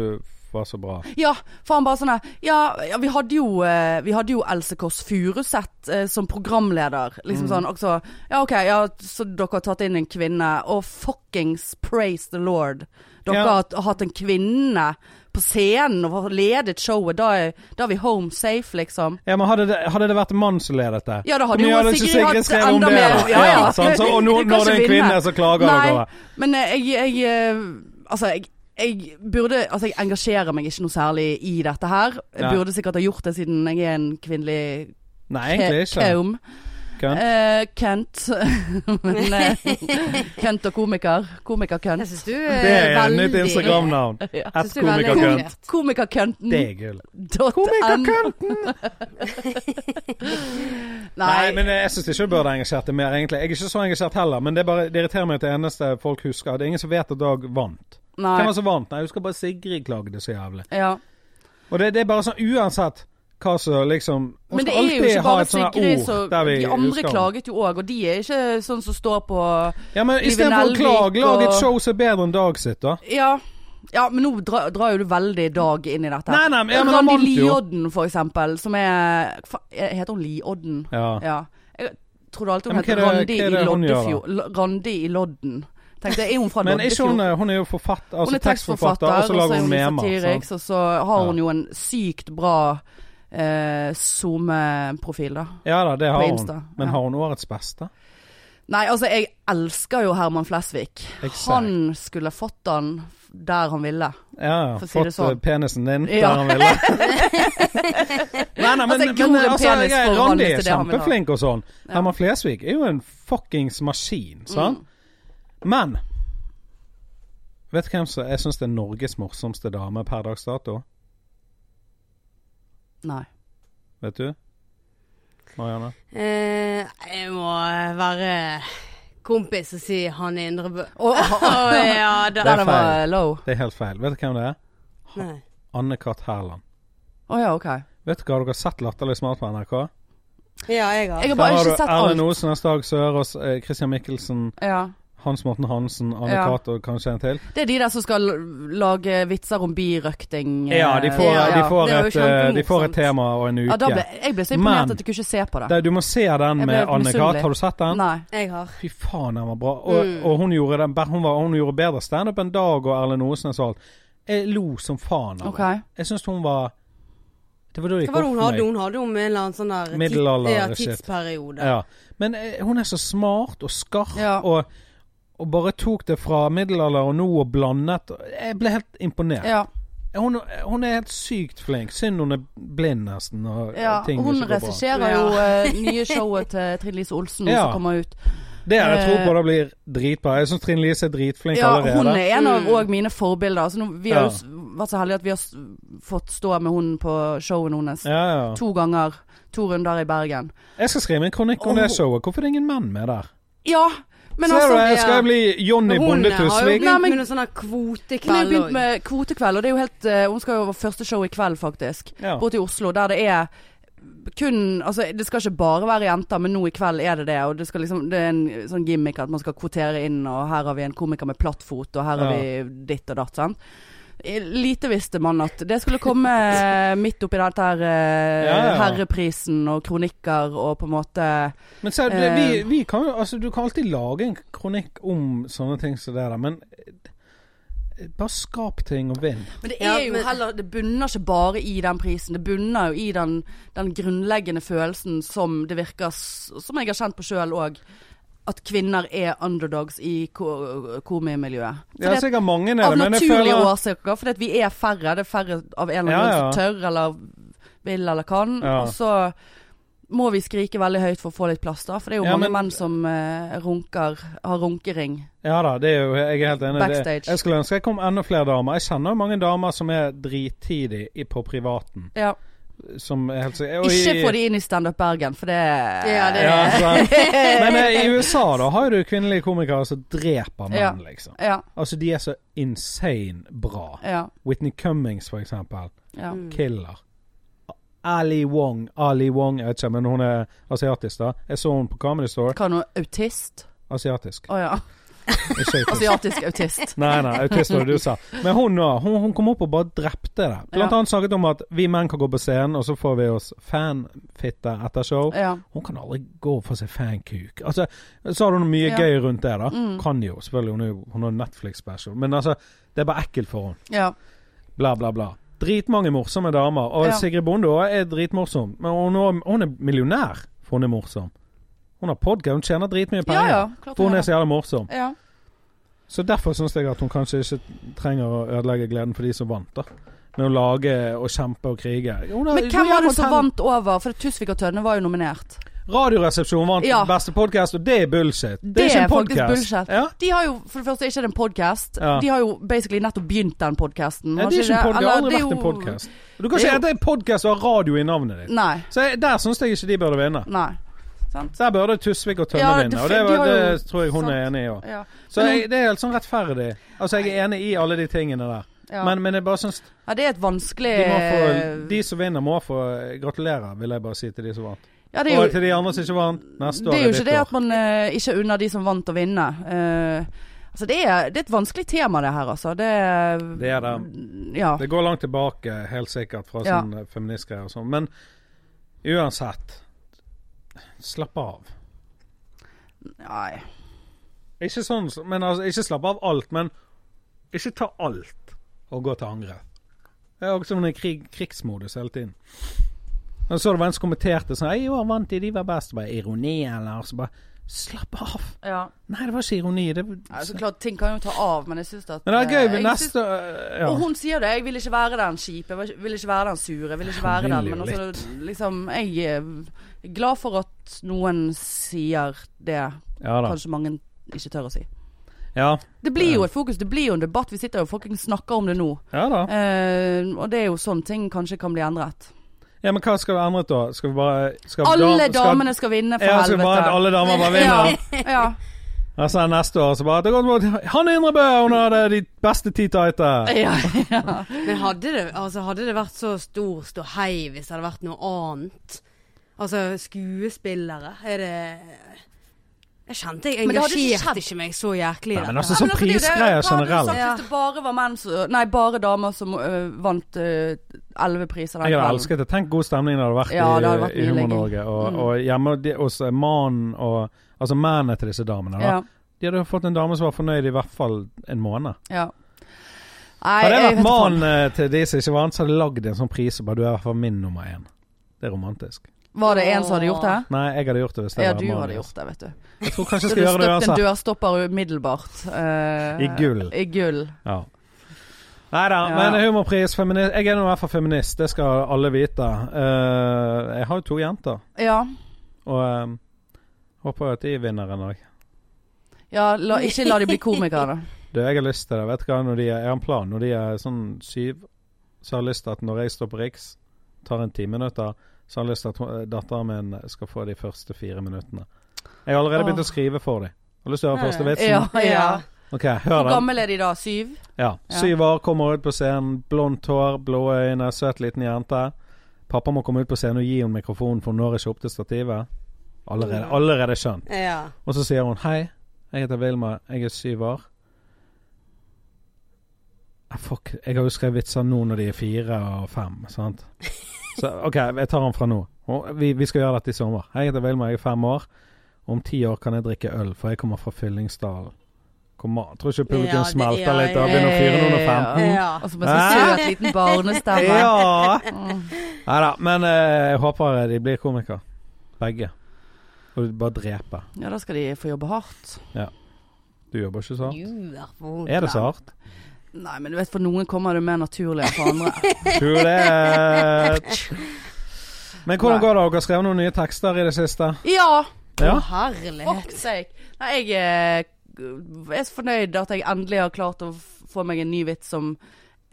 S1: var så bra.
S2: Ja, for han bare sånn her ja, ja, vi hadde jo eh, Vi hadde jo Else Kåss Furuseth eh, som programleder.
S1: Mm.
S2: Liksom sånn. Og så Ja, OK, ja, så dere har tatt inn en kvinne. Og fuckings praise the lord. Dere
S1: Ja.
S2: har hatt en kvinne på scenen og har ledet showet. Da er, da er vi home safe, liksom.
S1: Ja, men hadde det, hadde det vært en mann som ledet det?
S2: Ja, da hadde
S1: Men
S2: jo
S1: hadde ikke
S2: Sigrid hatt
S1: skrevet om
S2: enda
S1: det,
S2: mer.
S1: da.
S2: Ja, ja.
S1: sant? Så, og nå,
S2: Du kan
S1: når det er en
S2: ikke
S1: kvinne,
S2: vinne.
S1: så klager
S2: Nei,
S1: dere.
S2: Men eh, jeg, jeg eh, Altså, jeg, jeg burde Altså, jeg engasjerer meg ikke noe særlig i dette her. Jeg
S1: Nei.
S2: burde sikkert ha gjort det siden jeg er en kvinnelig
S1: Nei, egentlig ikke.
S2: kaum.
S1: Kønt.
S2: Eh, Kent. Men, eh, Kent og komiker. Komiker-Kent.
S3: Jeg syns du eh,
S1: Det er et
S3: veldig
S1: nytt Instagram-navn.
S2: Ja.
S1: Ett
S3: du er veldig
S1: komikerkønt.
S3: engasjert.
S2: Komikerkønten.
S1: Det er gull.
S2: dot n-
S1: Nei,
S2: Nei,
S1: men eh, jeg syns ikke du burde engasjert deg mer, egentlig. Jeg er ikke så engasjert heller, men det, er bare, det irriterer meg at det eneste folk husker Det er ingen som vet at Dag vant. Hvem
S2: nei.
S1: var som vant? Nei, jeg husker bare Sigrid klagde så jævlig.
S2: Ja.
S1: Og det, det er bare sånn uansett hva som liksom Hun
S2: Men det
S1: skal
S2: er jo
S1: alltid
S2: ikke
S1: ha
S2: bare
S1: et sånt
S2: Sigrid
S1: ord
S2: som
S1: der vi
S2: De andre
S1: husker henne.
S2: klaget jo òg, og de er ikke sånn som står på
S1: Ja, men
S2: Live
S1: istedenfor å
S2: Nelvik
S1: klage, lag et
S2: og-
S1: show som er bedre enn Dag sitt, da.
S2: Ja. Ja, men nå dra, drar jo du veldig Dag inn i dette.
S1: Nei, nei, men- ja, men han
S2: Randi
S1: vant jo.
S2: Liodden, for eksempel, som er fa- Heter hun Liodden?
S1: Ja.
S2: Ja. Jeg trodde alltid
S1: Ja,
S2: hun
S1: men
S2: het
S1: hva er det-
S2: Randi
S1: hva er
S2: i
S1: det hun gjør, da?
S2: Loddefjord. L- Randi i Lodden. Tenkte jeg, er hun fra
S1: Men ikke hun,
S2: Loddefjord?
S1: hun er jo forfatter, altså
S2: Hun er tekstforfatter,
S1: og så lager hun memer. sant?
S2: satiriks, og så har hun
S1: Ja.
S2: jo en sykt bra eh, SoMe-profil, da.
S1: Ja da, det har
S2: På
S1: hun.
S2: Insta,
S1: Men
S2: ja.
S1: har hun årets beste?
S2: Nei, altså, jeg elsker jo Herman Flesvig.
S1: Exakt.
S2: Han skulle fått den f- der han ville.
S1: Ja, ja.
S2: For å si
S1: Fått
S2: det sånn.
S1: eh, penisen din
S2: Ja.
S1: der han ville. nei, nei, men,
S2: Altså, jeg gror
S1: men
S2: en
S1: altså,
S2: penis
S1: jeg,
S2: foran
S1: Randi
S2: hvis
S1: er
S2: det er det han vil ha.
S1: kjempeflink og sånn. Herman Flesvig er jo en fuckings maskin,
S2: Mm.
S1: sant? Men Vet du hvem som jeg syns er Norges morsomste dame per dags dato?
S2: Nei.
S1: Vet du? Marianne?
S3: Eh, jeg må være kompis som sier Hanne Indrebø.
S2: Å,
S3: Å ja da.
S1: Det er
S2: den var low.
S1: Det er helt feil. Vet du hvem det er?
S3: Nei.
S1: Anne-Kat. Hærland.
S2: Å ja, OK.
S1: Vet du hva, dere har sett Latterlig smart på NRK?
S3: Ja, jeg har.
S2: Jeg har
S1: Der
S2: bare
S1: har du
S2: ikke sett
S1: Erlend
S2: alt.
S1: Osen, Dag Sørås, eh, Christian Michelsen,
S2: Ja.
S1: Hans Morten Hansen,
S2: Ja.
S1: Anne-Kat. og kanskje en til.
S2: Det er de der som skal l- lage vitser om birøkting. eh,
S1: Ja, de får,
S2: ja.
S1: de får,
S3: det er jo
S1: et, eh, de får
S3: kjempemorsomt.
S1: et tema og en uke.
S2: Ja, da ble, jeg ble så imponert
S1: Men-
S2: at jeg kunne ikke se på det.
S1: Det- Du må se den
S2: Jeg
S1: med
S2: ble
S1: Anne-Kat.
S2: misunnelig.
S1: Har du sett den?
S2: Nei.
S3: Jeg har.
S1: Fy faen, den var bra. Og,
S3: Mm.
S1: og hun gjorde den hun var, hun gjorde bedre standup enn Dag og Erlend Osnes og alt. Jeg lo som faen av
S2: OK.
S1: det. Jeg syns hun var Det var da det
S3: Hva
S1: gikk
S3: var det
S1: opp
S3: hun
S1: for
S3: hadde?
S1: meg.
S3: Hun hadde om en eller annen sånn der
S1: Middelalder-
S3: ja,
S1: shit.
S3: tidsperiode.
S1: Ja. Men eh, hun er så smart og skarp
S2: Ja.
S1: og, og bare tok det fra middelalder og nå og blandet. Jeg ble helt imponert.
S2: Ja.
S1: Hun, hun er helt sykt flink. Synd hun er blind, nesten. Og
S2: ja.
S1: og ting
S2: Hun
S1: ikke går bra.
S2: regisserer jo eh, nye showet til Trine Lise Olsen nå
S1: Ja.
S2: som kommer ut.
S1: Det har jeg tro på
S2: Eh,
S1: det blir dritbra. Jeg syns Trine Lise er dritflink
S2: Ja,
S1: allerede.
S2: hun er en av
S3: Mm.
S2: og mine forbilder. Altså, nå, vi har
S1: Ja.
S2: jo s- vært så heldige at vi har s- fått stå med hun på showet hennes
S1: ja, ja.
S2: to ganger. To runder i Bergen.
S1: Jeg skal skrive en kronikk om
S2: Og-
S1: det showet. Hvorfor er det ingen menn med der?
S2: Ja, men
S1: Ser
S2: altså
S1: du, jeg skal
S3: ja.
S1: jeg bli Jonny
S3: Men hun
S1: Bonde
S3: har jo
S1: Tusvik.
S3: begynt
S2: Nei, men-
S3: med noen
S2: Hun
S3: sånne
S2: har jo
S3: kvotekveld
S2: begynt
S3: òg.
S2: med kvotekveld, og det er jo helt eh, Hun skal jo ha første show i kveld, faktisk.
S1: Ja.
S2: Borte i Oslo, der det er kun Altså, det skal ikke bare være jenter, men nå i kveld er det det. Og det, skal liksom, det er en sånn gimmick at man skal kvotere inn, og her har vi en komiker med platt fot, og her har
S1: Ja.
S2: vi ditt og datt. Sant? Eh, Lite visste man at det skulle komme eh, midt oppi dette her eh,
S1: Ja, ja.
S2: herreprisen og kronikker og på en måte
S1: Men se, det- vi,
S2: Eh.
S1: vi kan jo Altså, du kan alltid lage en kronikk om sånne ting som det der, men eh, bare skap ting og vinn.
S2: Men det
S3: Ja,
S2: er jo
S3: men-
S2: heller Det bunner ikke bare i den prisen. Det bunner jo i den, den grunnleggende følelsen som det virker s- Som jeg har kjent på sjøl òg. At kvinner er underdogs i ko- komimiljøet.
S1: Det er
S2: Fordi at-
S1: sikkert mange nede,
S2: Av
S1: men jeg
S2: naturlige
S1: føler
S2: årsaker, fordi at vi er færre. Det er færre av en eller
S1: Ja,
S2: annen
S1: ja.
S2: grunn som tør eller vil eller kan.
S1: Ja.
S2: Og så må vi skrike veldig høyt for å få litt plass, da. For det er jo
S1: Ja,
S2: mange
S1: men-
S2: menn som eh, runker, har runkering.
S1: Ja da, det er jo, jeg er helt enig. i Det,
S2: Backstage.
S1: jeg skulle ønske jeg kom enda flere damer. Jeg kjenner jo mange damer som er drittidig i- på privaten.
S2: Ja.
S1: Som er helt sikkert
S2: Ikke få de inn i Standup Bergen, for det
S3: Ja, det-
S1: ja, sant. Men eh, i USA da har jo du kvinnelige komikere som dreper menn,
S2: Ja.
S1: liksom.
S2: Ja,
S1: Altså, de er så insane bra.
S2: ja,
S1: Whitney Cummings, for eksempel.
S2: ja.
S3: Mm.
S1: Killer. Ali Wong. Ali Wong, jeg vet ikke, men hun er asiatisk, da. Jeg så hun på Comedy Store.
S2: Hva er noe autist?
S1: Asiatisk.
S2: Å ja.
S1: Ikke autist.
S2: Asiatisk autist.
S1: Nei, nei, autist var det du sa. Men hun nå, hun, hun kom opp og bare drepte det. Blant
S2: Ja.
S1: annet snakket om at vi menn kan gå på scenen, og så får vi oss fanfitte etter show.
S2: Ja.
S1: Hun kan aldri gå og få seg fankuk. Altså, så har hun mye
S2: Ja.
S1: gøy rundt det, da.
S2: Mm.
S1: Kan jo, selvfølgelig. Hun, er jo- hun har Netflix-special. Men altså, det er bare ekkelt for henne.
S2: ja.
S1: Bla, bla, bla. Dritmange morsomme damer. Og
S2: Ja.
S1: Sigrid Bonde også er dritmorsom. Men hun, er- hun er millionær, for hun er morsom. Hun har podkast, hun tjener dritmye
S2: Ja,
S1: penger.
S2: ja. Klart
S1: For hun er
S2: det.
S1: så jævla morsom.
S2: Ja.
S1: Så derfor syns jeg at hun kanskje ikke trenger å ødelegge gleden for de som vant, da. Med å lage og kjempe og krige. Hun har-
S2: Men
S1: hun
S2: hvem var
S1: gjør
S2: det som
S1: hotell-
S2: vant over? For Tusvik og Tønne var jo nominert.
S1: Radioresepsjonen vant
S2: Ja.
S1: beste podkast, og det er bullshit. Det,
S2: Det
S1: er ikke en
S2: er faktisk
S1: podcast.
S2: bullshit.
S1: Ja.
S2: De har jo for det første ikke det en podkast.
S1: Ja.
S2: De har jo basically nettopp begynt den podkasten.
S1: Nei, det er ikke en pod- det har aldri vært en
S2: podkast.
S1: podkast. Du kan ikke
S2: det er jo-
S1: hete en podkast og ha radio i navnet ditt.
S2: Nei.
S1: Så jeg, Der syns jeg ikke de burde vinne.
S2: Nei.
S1: Der burde Tusvik og Tønne
S2: Ja, det
S1: vinne, og
S2: fin-
S1: det,
S2: de har jo-
S1: det tror jeg hun er
S2: sant.
S1: enig i òg.
S2: Ja.
S1: Så
S2: Men hun-
S1: jeg, det er helt sånn rettferdig. Altså, jeg er enig i alle de tingene der,
S2: Ja.
S1: men, men jeg bare syns
S2: ja, det er et vanskelig
S1: de, må få, de som vinner, må få gratulere, vil jeg bare si til de som vant.
S2: ja, det er jo-
S1: Og til de andre som ikke vant, neste
S2: det
S1: år
S2: er jo ikke
S1: ditt
S2: det
S1: år.
S2: at man eh, ikke unner de som vant å vinne. Eh, altså det er, det er et vanskelig tema det her, altså. Det,
S1: Det er det.
S2: Ja.
S1: Det går langt tilbake, helt sikkert, fra
S2: Ja.
S1: sånn feministgreier og sånn. Men uansett Slapp av.
S2: Nei.
S1: Ikke sånn, men altså, ikke slapp av alt, men ikke ta alt og gå til angrep. Det er også sånn i krig, krigsmodus hele tiden. Og så var det en som kommenterte sånn «Ei, 'Jo, han vant, de, de var best.' Bare ironi, eller? Og så bare Slapp av.
S2: Ja.
S1: Nei, det var ikke ironi. Det,
S2: Nei, så klart, ting kan jo ta av, men jeg syns at eh,
S1: men det er gøy
S2: jeg
S1: ved
S2: syns-
S1: neste ja.
S2: Og hun sier det. Jeg vil ikke være den kjipe, jeg vil ikke være den sure, jeg vil ikke
S1: Hun
S2: være den
S1: vil
S2: Men
S1: jo
S2: også, liksom, jeg er glad for at noen sier det
S1: ja da.
S2: kanskje mange ikke tør å si.
S1: Ja,
S2: Det blir jo et fokus, det blir jo en debatt. Vi sitter jo og fucking snakker om det nå.
S1: ja da.
S2: Eh, og det er jo sånn ting kanskje kan bli endret.
S1: Ja, men hva skal vi endre da? Skal vi bare skal
S2: Alle
S1: dam- skal-
S2: damene skal vinne, for
S1: Ja, skal
S2: helvete.
S1: bare, alle damer bare vinner.
S2: Ja, ja.
S1: Og så neste år så bare Det går mot Hanne Indrebø! Hun hadde de beste ti tighte!
S2: Ja, ja.
S3: Men hadde det, altså, hadde det vært så stor ståhei hvis det hadde vært noe annet? Altså skuespillere, er det Jeg kjente jeg
S2: Men det hadde ikke
S3: engasjerte
S2: skjedd.
S3: ikke, meg så jæklig i
S1: Nei, men
S3: dette.
S1: altså, Sånn
S2: Ja, men altså, det er jo det-
S1: prisgreier
S2: hva hadde du
S1: generelt.
S2: sagt Hvis det bare var menn som Nei, bare damer som øh, vant elleve priser den
S1: Jeg hadde
S2: kvelden.
S1: elsket det. Tenk god stemning det hadde vært
S2: Ja, det hadde vært
S1: i, i
S2: mye
S1: Humor-Norge. Og,
S2: Mm.
S1: og hjemme de- hos mannen og Altså mennene til disse damene. Da.
S2: Ja,
S1: De hadde fått en dame som var fornøyd i hvert fall en måned.
S2: ja. Nei,
S1: Hadde jeg
S2: jeg
S1: vært
S2: vet faen.
S1: mannen eh, til de som ikke vant, så hadde jeg lagd en sånn pris og bare Du er i hvert fall min nummer én. Det er romantisk.
S2: Var det en som hadde gjort det?
S1: Nei, jeg hadde gjort det hvis det
S2: Ja,
S1: var
S2: du
S1: mannen.
S2: hadde gjort det, vet du.
S1: Jeg tror kanskje jeg
S2: Så du
S1: skal gjøre det
S2: støpte
S1: uansett.
S2: en dørstopper umiddelbart. eh,
S1: I gull.
S2: I gull.
S1: Ja. Nei da,
S2: Ja.
S1: men humorpris, feminist Jeg er nå i hvert fall feminist, det skal alle vite. Eh, jeg har jo to jenter,
S2: Ja.
S1: og eh, håper at de vinner en dag.
S2: ja la, ikke la de bli komikere.
S1: Du, jeg har lyst til det. Vet du hva, når de er, Jeg har en plan. Når de er sånn syv, så har jeg lyst til at når jeg står på Riks, tar en ti minutter, så har jeg lyst til at hun- eh, datteren min skal få de første fire minuttene. Jeg har allerede begynt
S2: Åh. Eh,
S1: å skrive for dem. Har du lyst til å høre
S3: Nei.
S1: første vitsen?
S2: Ja, ja.
S1: OK,
S2: Hvor
S1: hør den.
S2: gammel er de da? Syv?
S1: Ja. Syv år, kommer ut på scenen, blondt hår, blå øyne, søt liten jente. Pappa må komme ut på scenen og gi henne mikrofonen, for hun når ikke opp til stativet. Allerede, allerede skjønt.
S3: Ja.
S1: Og så sier hun Hei, jeg heter Vilma, jeg er syv år. Ah, fuck, jeg har jo skrevet vitser nå når de er fire og fem, sant. Så OK, jeg tar den fra nå. Og Vi, vi skal gjøre dette i sommer. Hei, jeg heter Vilma, jeg er fem år. Om ti år kan jeg drikke øl, for jeg kommer fra Fyllingsdalen. Kom an, Tror ikke publikum
S3: Ja, det-
S1: smelter
S3: ja,
S1: litt
S3: ja,
S1: og begynner å fyre noen og fem?
S3: ja.
S2: Og så med så søt liten barnestemme.
S1: Ja!
S2: Mm.
S1: Nei da, men eh, jeg håper de blir komikere. Begge. Og bare drepe.
S2: Ja, da skal de få jobbe hardt.
S1: Du jobber ikke så hardt?
S3: Du er for
S1: Er det så hardt?
S2: Nei, men du vet, for noen kommer det mer naturlig enn for andre.
S1: True that. Men hvordan
S2: Nei.
S1: går det? Dere har skrevet noen nye tekster i det siste?
S2: Ja,
S1: Ja.
S3: Å, herlighet.
S2: fuck sake. Nei, jeg eh, er så fornøyd at jeg endelig har klart å f- få meg en ny vits som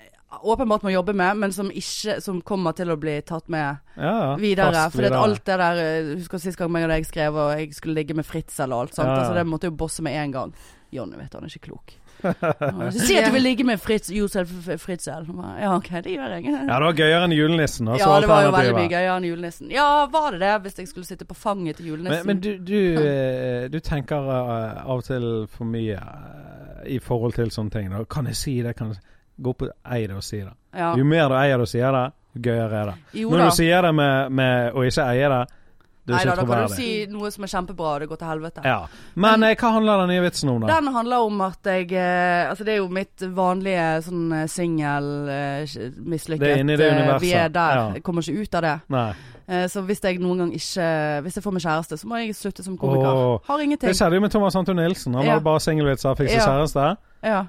S2: eh, åpenbart må jobbe med, men som ikke Som kommer til å bli tatt med
S1: Ja, ja.
S2: videre.
S1: Fast
S2: For
S1: videre.
S2: alt det der eh, Husker sist gang meg og deg skrev og jeg skulle ligge med Fritz eller alt sånt.
S1: Ja, ja.
S2: Altså, det måtte jeg jo bosse med en gang. Jonny vet han er ikke klok. Ja, så Si at du vil ligge med Fritz Josef F- Fritzel. Han bare, Ja, OK, det gjør jeg.
S1: Ja, det var gøyere enn julenissen. Altså,
S2: Ja, det var jo veldig mye
S1: alternativet.
S2: gøyere enn julenissen. Ja, var det det? Hvis jeg skulle sitte på fanget til julenissen.
S1: Men, men du, du, eh, du tenker eh, av og til for mye eh, i forhold til sånne ting. Da. Kan jeg si det? Kan jeg... si- Gå opp og ei det og si det.
S2: ja.
S1: Jo mer du eier det og sier det, jo gøyere er det.
S2: Jo
S1: Når
S2: da.
S1: du sier det med, med å ikke eie det, du er
S2: Nei da,
S1: ikke
S2: da kan du
S1: troverdig.
S2: si noe som er kjempebra, og det går til helvete.
S1: Ja. Men eh, hva handler den nye vitsen om, da?
S2: Den handler om at jeg eh, Altså, det er jo mitt vanlige sånn eh, singel eh, sh- mislykket
S1: Det er inne i det
S2: eh,
S1: universet.
S2: Vi er der.
S1: Ja.
S2: Jeg kommer ikke ut av det.
S1: Nei.
S2: Eh, så hvis jeg noen gang ikke Hvis jeg får meg kjæreste, så må jeg slutte som komiker.
S1: Åh.
S2: Har
S1: Det
S2: ingenting.
S1: skjedde jo med Thomas Anton Nilsen. Han
S2: Ja.
S1: hadde bare singelvitser, fikk seg
S2: Ja.
S1: kjæreste.
S2: Ja.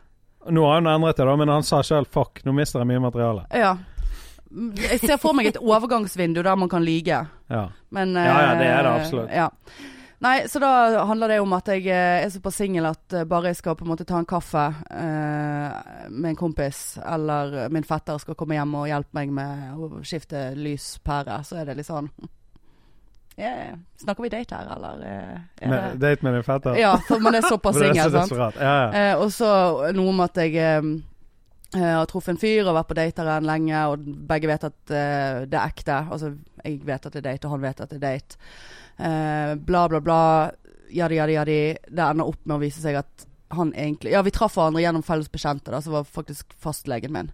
S1: Nå har han endret det, da, men han sa sjøl 'fuck, nå mister jeg mye materiale'.
S2: ja. Mm, Jeg ser for meg et overgangsvindu der man kan lyge.
S1: Ja.
S2: Men,
S1: Ja, ja,
S2: eh,
S1: det er det absolutt.
S2: Ja. Nei, så da handler det om at jeg eh, er såpass singel at eh, bare jeg skal på en måte ta en kaffe eh, med en kompis, eller min fetter skal komme hjem og hjelpe meg med å skifte lyspære, så er det litt sånn «Ja, Snakker vi date her, eller eh, er
S1: Men,
S2: det
S1: date med din fetter?
S2: Ja, for man er såpass
S1: For det er så
S2: singel, sant.
S1: desperat. Ja, ja.
S2: Eh, og så noe om at jeg eh, eh, har truffet en fyr og vært på dateren lenge, og begge vet at eh, det er ekte. Altså, jeg vet at det er date, og han vet at det er date. Eh, bla, bla, bla. Jadi, jadi, jadi. Det ender opp med å vise seg at han egentlig Ja, vi traff hverandre gjennom felles bekjente, da, som var faktisk fastlegen min.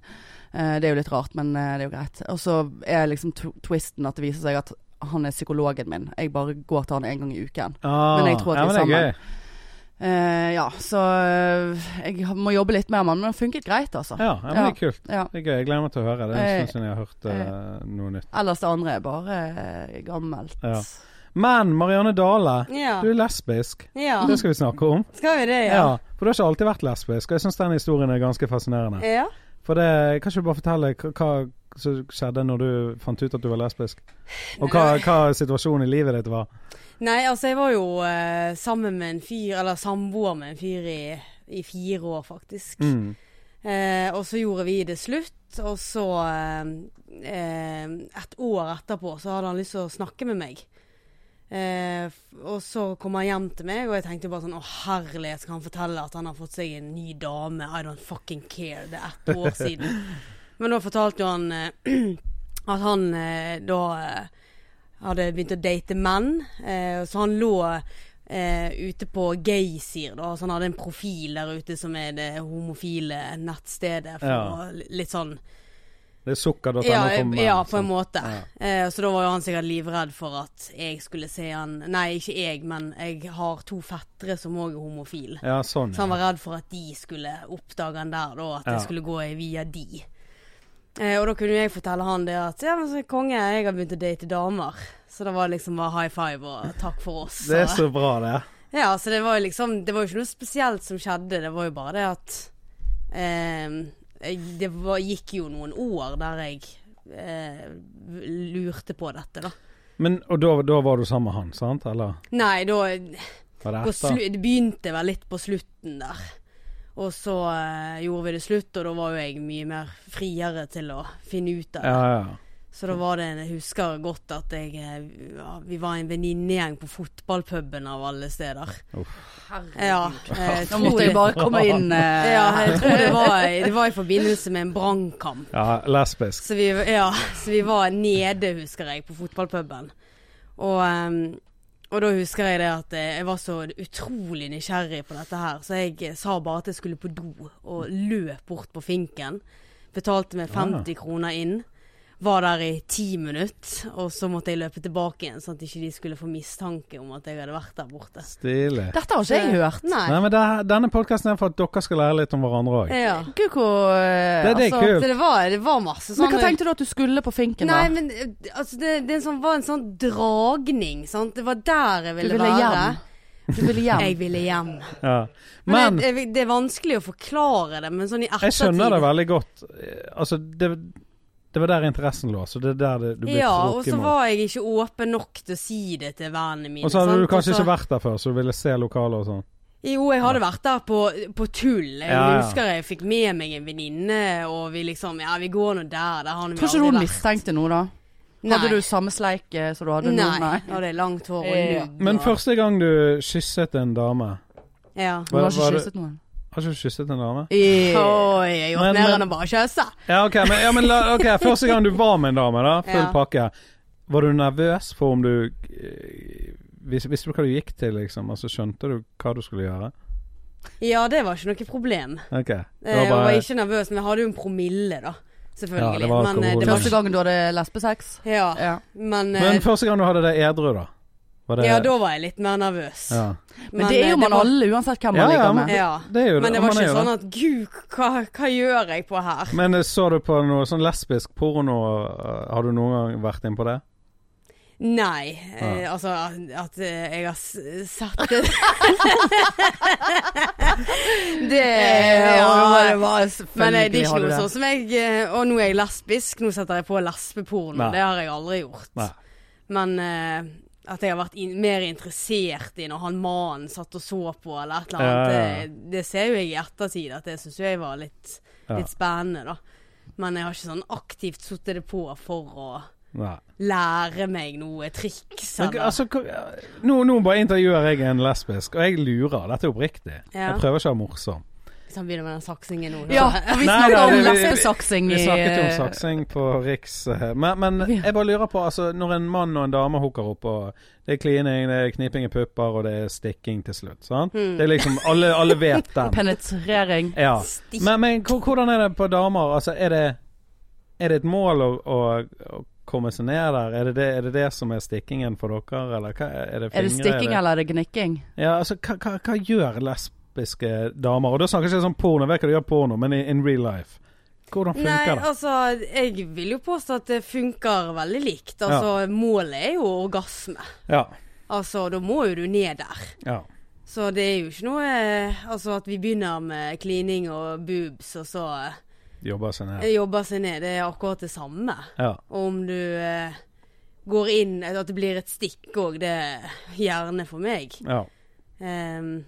S2: Eh, det er jo litt rart, men eh, det er jo greit. Og så er liksom tw twisten at det viser seg at han er psykologen min. Jeg bare går til han en gang i uken.
S1: Ah,
S2: Men jeg tror at
S1: ja,
S2: vi
S1: men det er
S2: sammen.
S1: gøy.
S2: Eh, ja, så eh, jeg har- må jobbe litt mer med den, men den funket greit, altså.
S1: Ja, ja, men det er kult.
S2: Ja.
S1: Det er gøy. Jeg gleder meg til å høre. Det er en
S2: Eh,
S1: stund siden jeg har hørt eh, noe nytt.
S2: Ellers det andre er bare eh, gammelt.
S1: Ja. Men Marianne Dale,
S3: Ja.
S1: du er lesbisk.
S3: ja.
S1: Det skal vi snakke om.
S3: Skal vi det, ja?
S1: Ja, For du har ikke alltid vært lesbisk, og jeg syns den historien er ganske fascinerende.
S3: Ja.
S1: For det, Kan ikke du bare fortelle hva, hva som skjedde når du fant ut at du var lesbisk? Og hva, hva situasjonen i livet ditt var?
S3: Nei, altså jeg var jo eh, sammen med en fyr, eller samboer med en fyr i, i fire år, faktisk.
S1: Mm.
S3: Eh, og så gjorde vi det slutt, og så eh, eh, Et år etterpå så hadde han lyst til å snakke med meg. Eh, f- og så kom han hjem til meg, og jeg tenkte bare sånn Å herlighet, skal han fortelle at han har fått seg en ny dame? I don't fucking care. Det er ett år siden. Men da fortalte jo han eh, at han eh, da eh, hadde begynt å date menn. eh, Så han lå eh, ute på Gaysir, da. Så han hadde en profil der ute som er det homofile nettstedet for
S1: Ja.
S3: å- litt sånn
S1: Det er sukker.no
S3: ja, eh,
S1: for menn.
S3: ja, på
S1: sånn.
S3: en måte. Eh, så da var jo han sikkert livredd for at jeg skulle se han Nei, ikke jeg, men jeg har to fettere som òg er homofile.
S1: Ja, sånn.
S3: Så han
S1: Ja.
S3: var redd for at de skulle oppdage han der, da. At
S1: Ja.
S3: jeg skulle gå via de. Eh, og da kunne jo jeg fortelle han det at Ja, men så konge, jeg har begynt å date damer. Så det var liksom bare high five og takk for oss.
S1: Det er
S3: Og-
S1: så bra, det.
S3: ja, så det var jo liksom Det var jo ikke noe spesielt som skjedde, det var jo bare det at eh, Det var, gikk jo noen år der jeg eh, lurte på dette, da.
S1: Men, og da, da var du sammen med han, sant? Eller
S3: Nei, da
S1: var det
S3: på
S1: etter?
S3: slu, Det begynte vel litt på slutten der. Og så eh, gjorde vi det slutt, og da var jo jeg mye mer friere til å finne ut av det.
S1: Ja, ja.
S3: Så da var det en, jeg husker godt at jeg eh, ja, Vi var en venninnegjeng på fotballpuben av alle steder. Ja, eh,
S2: Da måtte jeg bare komme inn. eh,
S3: Ja, jeg tror det var, det var i forbindelse med en brannkamp.
S1: ja lesbisk.
S3: Så vi, ja, så vi var nede, husker jeg, på fotballpuben. Og, em, og da husker jeg det at eh, jeg var så utrolig nysgjerrig på dette her, så jeg eh, sa bare at jeg skulle på do, og løp bort på finken. Betalte meg
S2: Ah.
S3: 50 kroner inn. Var der i ti minutter, og så måtte jeg løpe tilbake igjen, sånn at ikke de skulle få mistanke om at jeg hadde vært der borte.
S1: Stilig.
S2: Dette har ikke jeg hørt.
S1: Nei,
S3: Nei.
S1: men det, denne podkasten er for at dere skal lære litt om hverandre òg.
S3: Ja.
S2: Gud, hvor eh,
S1: Det- det er
S2: altså- sånn
S1: kult.
S3: Så det var, det var masse
S2: Men
S3: sånne
S2: hva tenkte du at du skulle på finken, da?
S3: Nei, men eh, altså, det, det er en sånn, var en sånn dragning. Sant? Det var der jeg
S2: du
S3: ville,
S2: ville
S3: være.
S2: hjem. Du ville hjem.
S3: Jeg ville hjem.
S1: Ja.
S3: Men,
S1: Men
S3: jeg, jeg, det er vanskelig å forklare det, men sånn i ettertid
S1: jeg skjønner det veldig godt. Eh, Altså, det, det var der interessen lå, så det er der det, du blir
S3: Ja, og
S1: trukket
S3: så
S1: mot.
S3: var jeg ikke åpen nok til å si det til vennene mine.
S1: Og så hadde
S3: sant?
S1: du kanskje
S3: Og så-
S1: ikke vært der før, så du ville se lokalet og sånn.
S3: Jo, jeg hadde vært der på, på tull. Jeg
S1: Ja, ja.
S3: husker jeg fikk med meg en venninne, og vi liksom Ja, vi går nå der. Der har vi
S2: Tror ikke du hun
S3: aldri vært.
S2: mistenkte noe, da? Hadde du samme sleik eh, som du hadde nå?
S3: Nei. Da hadde jeg langt hår og
S2: Ja.
S3: nudd.
S1: Eh. Men
S3: og-
S1: første gang du kysset en dame
S3: Ja.
S2: Hun
S1: Hva- var
S2: har ikke
S1: det-
S2: kysset noen?
S1: Har ikke du kysset en dame?
S3: Oi, jeg har
S1: Eh. Men-
S3: gjort mer
S1: men-
S3: enn å bare kysse.
S1: Ja, ok, men, ja, men la, ok, Første gang du var med en dame, da. Full
S3: Ja.
S1: pakke. Var du nervøs for om du eh, vis, Visste du hva du gikk til, liksom? Altså, skjønte du hva du skulle gjøre?
S3: Ja, det var ikke noe problem.
S1: Ok. Det
S3: Eh,
S1: var
S3: Jeg var
S1: bare
S3: ikke nervøs, men jeg hadde jo en promille, da. Selvfølgelig.
S1: Ja, det var
S3: men eh, det
S1: alkohol.
S3: var
S2: Første
S3: ikke
S2: gangen du hadde lesbesex?
S3: Ja,
S2: Ja.
S3: men, eh,
S1: Men første gang du hadde det edru, da? Var det
S3: ja, da var jeg litt mer nervøs.
S1: ja.
S2: Men, det er jo
S3: eh,
S2: man
S3: var-
S2: alle, uansett hvem
S1: Ja,
S2: man
S1: ja,
S2: ligger
S1: men-
S2: med.
S3: Ja.
S1: Det er jo
S3: Men det var
S1: man er
S3: ikke
S1: jo
S3: sånn at Gud, hva, hva gjør jeg på her?
S1: Men eh, så du på noe sånn lesbisk porno? eh, Har du noen gang vært inn på det?
S3: Nei. Eh, altså at- at eh, jeg har s- sett det Det
S2: Ja,
S3: ja,
S2: det Eh, var
S3: Men eh, det er
S2: selvfølgelig
S3: ikke
S2: har du
S3: noe
S2: det.
S3: sånn som jeg eh, Og nå er jeg lesbisk, nå setter jeg på lesbeporno.
S1: Nei.
S3: Det har jeg aldri gjort.
S1: Nei.
S3: Men eh, at jeg har vært in mer interessert i når han mannen satt og så på, eller et eller annet,
S1: Ja, ja, ja.
S3: det, det ser jo jeg i ettertid at det syns jeg var litt,
S1: Ja.
S3: litt spennende, da. Men jeg har ikke sånn aktivt satt det på for å
S1: Nei.
S3: lære meg noe triks,
S1: Men,
S3: eller
S1: altså, hva- ja, nå, nå bare intervjuer jeg en lesbisk, og jeg lurer. Dette er oppriktig.
S3: Ja.
S1: Jeg prøver ikke å være morsom.
S3: Hvis han begynner med den saksingen nå.
S2: Ja,
S3: så-
S2: for vi
S1: Nei,
S2: snakket
S1: nei,
S2: om
S1: det- vi- vi-
S2: lesbesaksing i eh,
S1: Vi snakket jo om saksing på Riks. eh, Men, men
S2: Ja.
S1: jeg bare lurer på, altså, når en mann og en dame hooker opp, og det er klining, det er kniping i pupper, og det er stikking til slutt. Sant?
S3: Hmm.
S1: Det er liksom Alle, alle vet den.
S2: penetrering.
S1: Ja.
S3: Mm. Stikk.
S1: Men, men hvor- hvordan er det på damer? Altså, er det, er det et mål å, å, å komme seg ned der? Er det det, er det det som er stikkingen for dere, eller hva, er det fingre?
S2: Er det stikking eller er det gnikking?
S1: Ja, altså, hva, hva, hva gjør lesbiske damer? Og da snakker jeg ikke sånn porno, jeg vet hva du gjør porno, men i, in real life. Hvordan
S3: Nei,
S1: funker det?
S3: altså, jeg vil jo påstå at det funker veldig likt. Altså, målet er jo orgasme.
S1: Ja.
S3: Altså, da må jo du ned der.
S1: ja.
S3: Så det er jo ikke noe eh, Altså at vi begynner med klining og boobs, og så eh,
S1: Jobber seg ned.
S3: jobber seg ned. Det er akkurat det samme.
S1: Ja.
S3: Og om du eh, går inn eh, At det blir et stikk òg, det er gjerne for meg.
S1: ja.
S3: Ehm,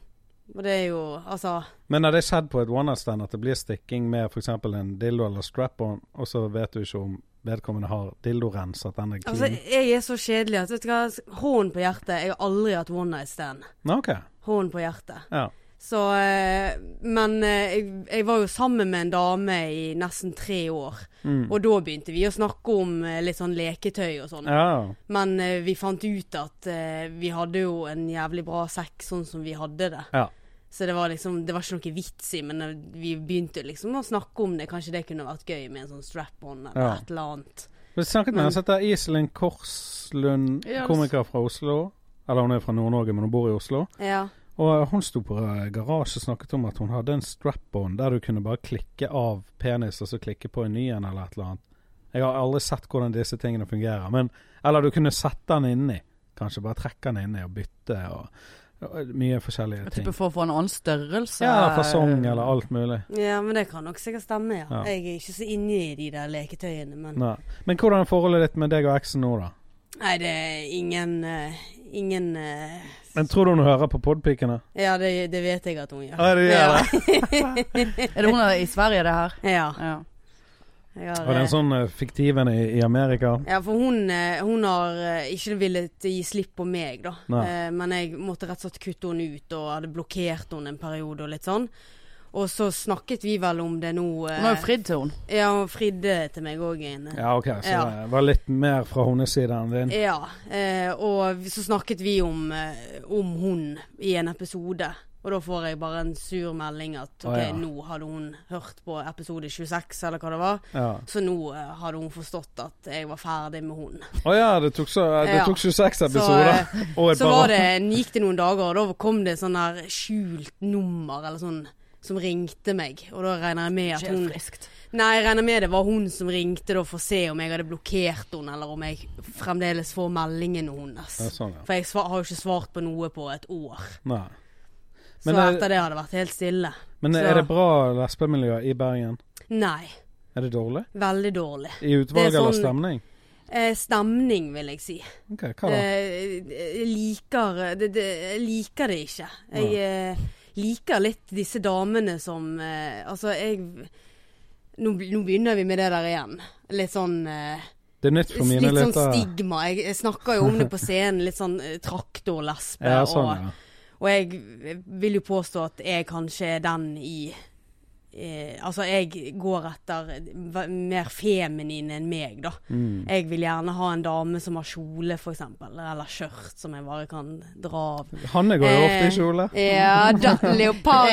S3: Og det er jo Altså.
S1: Men har det skjedd på et one night stand at det blir stikking med f.eks. en dildo eller strap-on, og så vet du ikke om vedkommende har dildorens, at den er clean?
S3: Altså, jeg er så kjedelig at vet du hva, hånden på hjertet Jeg har aldri hatt one night stand.
S1: Nei, OK.
S3: Hånden på hjertet.
S1: Ja.
S3: Så eh, Men eh, jeg, jeg var jo sammen med en dame i nesten tre år.
S1: Mm.
S3: Og da begynte vi å snakke om eh, litt sånn leketøy og sånn.
S1: Ja.
S3: Men eh, vi fant ut at eh, vi hadde jo en jævlig bra sekk sånn som vi hadde det.
S1: Ja.
S3: Så det var liksom Det var ikke noe vits i, men eh, vi begynte liksom å snakke om det. Kanskje det kunne vært gøy med en sånn strap-on eller
S1: Ja.
S3: et eller annet.
S1: Vi snakket med
S3: Men-
S1: en som heter Iselin Korslund,
S2: Ja, det-
S1: komiker fra Oslo. Eller hun er fra Nord-Norge, men hun bor i Oslo.
S3: Ja.
S1: Og hun sto på eh, garasje og snakket om at hun hadde en strap-on der du kunne bare klikke av penis og så klikke på en ny en eller et eller annet. Jeg har aldri sett hvordan disse tingene fungerer. Men, eller du kunne sette den inni. Kanskje bare trekke den inni og bytte og, og mye forskjellige
S2: Type
S1: ting.
S2: for å få en annen størrelse.
S1: Ja, fasong
S3: eh,
S1: eller alt mulig.
S3: Ja, men det kan nok sikkert stemme, ja.
S1: Ja.
S3: Jeg er ikke så inne i de der leketøyene, men Nei,
S1: Nei. Men hvordan er forholdet ditt med deg og eksen nå, da?
S3: det er ingen eh, Ingen eh,
S1: Men tror du hun hører på podpikene?
S3: Ja, det, det vet jeg at hun gjør.
S1: Ja, det gjør
S3: ja.
S2: Er det hun er i Sverige, det her?
S3: Ja,
S2: Ja.
S3: jeg har,
S1: Og den
S3: eh,
S1: sånn eh, fiktiven i, i Amerika?
S3: ja, for hun, eh, hun har eh, ikke villet gi slipp på meg, da.
S1: Nei.
S3: Eh, Men jeg måtte rett og slett kutte henne ut, og hadde blokkert henne en periode og litt sånn. Og så snakket vi vel om det nå eh,
S2: Hun har jo fridd til hun.
S3: Ja, hun fridde til meg òg.
S1: Ja, ok, så
S3: Ja.
S1: det var litt mer fra hennes side enn din.
S3: Ja, eh, og vi- så snakket vi om, eh, om hun i en episode. Og da får jeg bare en sur melding at
S1: Å,
S3: ok,
S1: ja.
S3: nå hadde hun hørt på episode 26 eller hva det var.
S1: Ja.
S3: Så nå eh, hadde hun forstått at jeg var ferdig med hun.
S1: Å ja, det tok, så, eh, det
S3: Ja.
S1: tok 26
S3: Så,
S1: episoder.
S3: eh,
S1: og et
S3: Så
S1: par år.
S3: var det, gikk det noen dager, og da kom det sånn der skjult nummer eller sånn som ringte meg. Og da regner jeg med at
S2: Ikke helt
S3: hun
S2: friskt.
S3: Nei, jeg regner med det var hun som ringte da for å se om jeg hadde blokkert henne, eller om jeg fremdeles får meldingen hennes.
S1: Ja, sånn, ja.
S3: For jeg sva- har jo ikke svart på noe på et år.
S1: Nei.
S3: Så
S1: Men, eh,
S3: etter det har det vært helt stille.
S1: Men
S3: Så-
S1: er det bra lesbemiljø i Bergen?
S3: Nei.
S1: Er det dårlig?
S3: Veldig dårlig.
S1: I utvalg
S3: Det er
S1: eller
S3: sånn-
S1: stemning?
S3: Eh, stemning, vil jeg si.
S1: Ok, hva da?
S3: Eh, jeg liker det, det, jeg liker det ikke. Jeg
S1: Nei.
S3: eh, liker litt disse damene som eh, Altså, jeg nå, be- nå begynner vi med det der igjen. Litt sånn eh,
S1: Det er nytt for mine
S3: Litt sånn
S1: lyttere.
S3: stigma. Jeg, jeg snakker jo om det på scenen. Litt sånn eh, traktorlesbe.
S1: Ja,
S3: og-
S1: sånn, ja.
S3: Og jeg vil jo påstå at jeg kanskje er den i eh, Altså, jeg går etter v- mer feminine enn meg, da.
S1: Mm.
S3: Jeg vil gjerne ha en dame som har kjole, for eksempel. Eller skjørt, som jeg bare kan dra av.
S1: Hanne går jo ofte
S3: Eh,
S1: i kjole.
S3: Ja da, leopard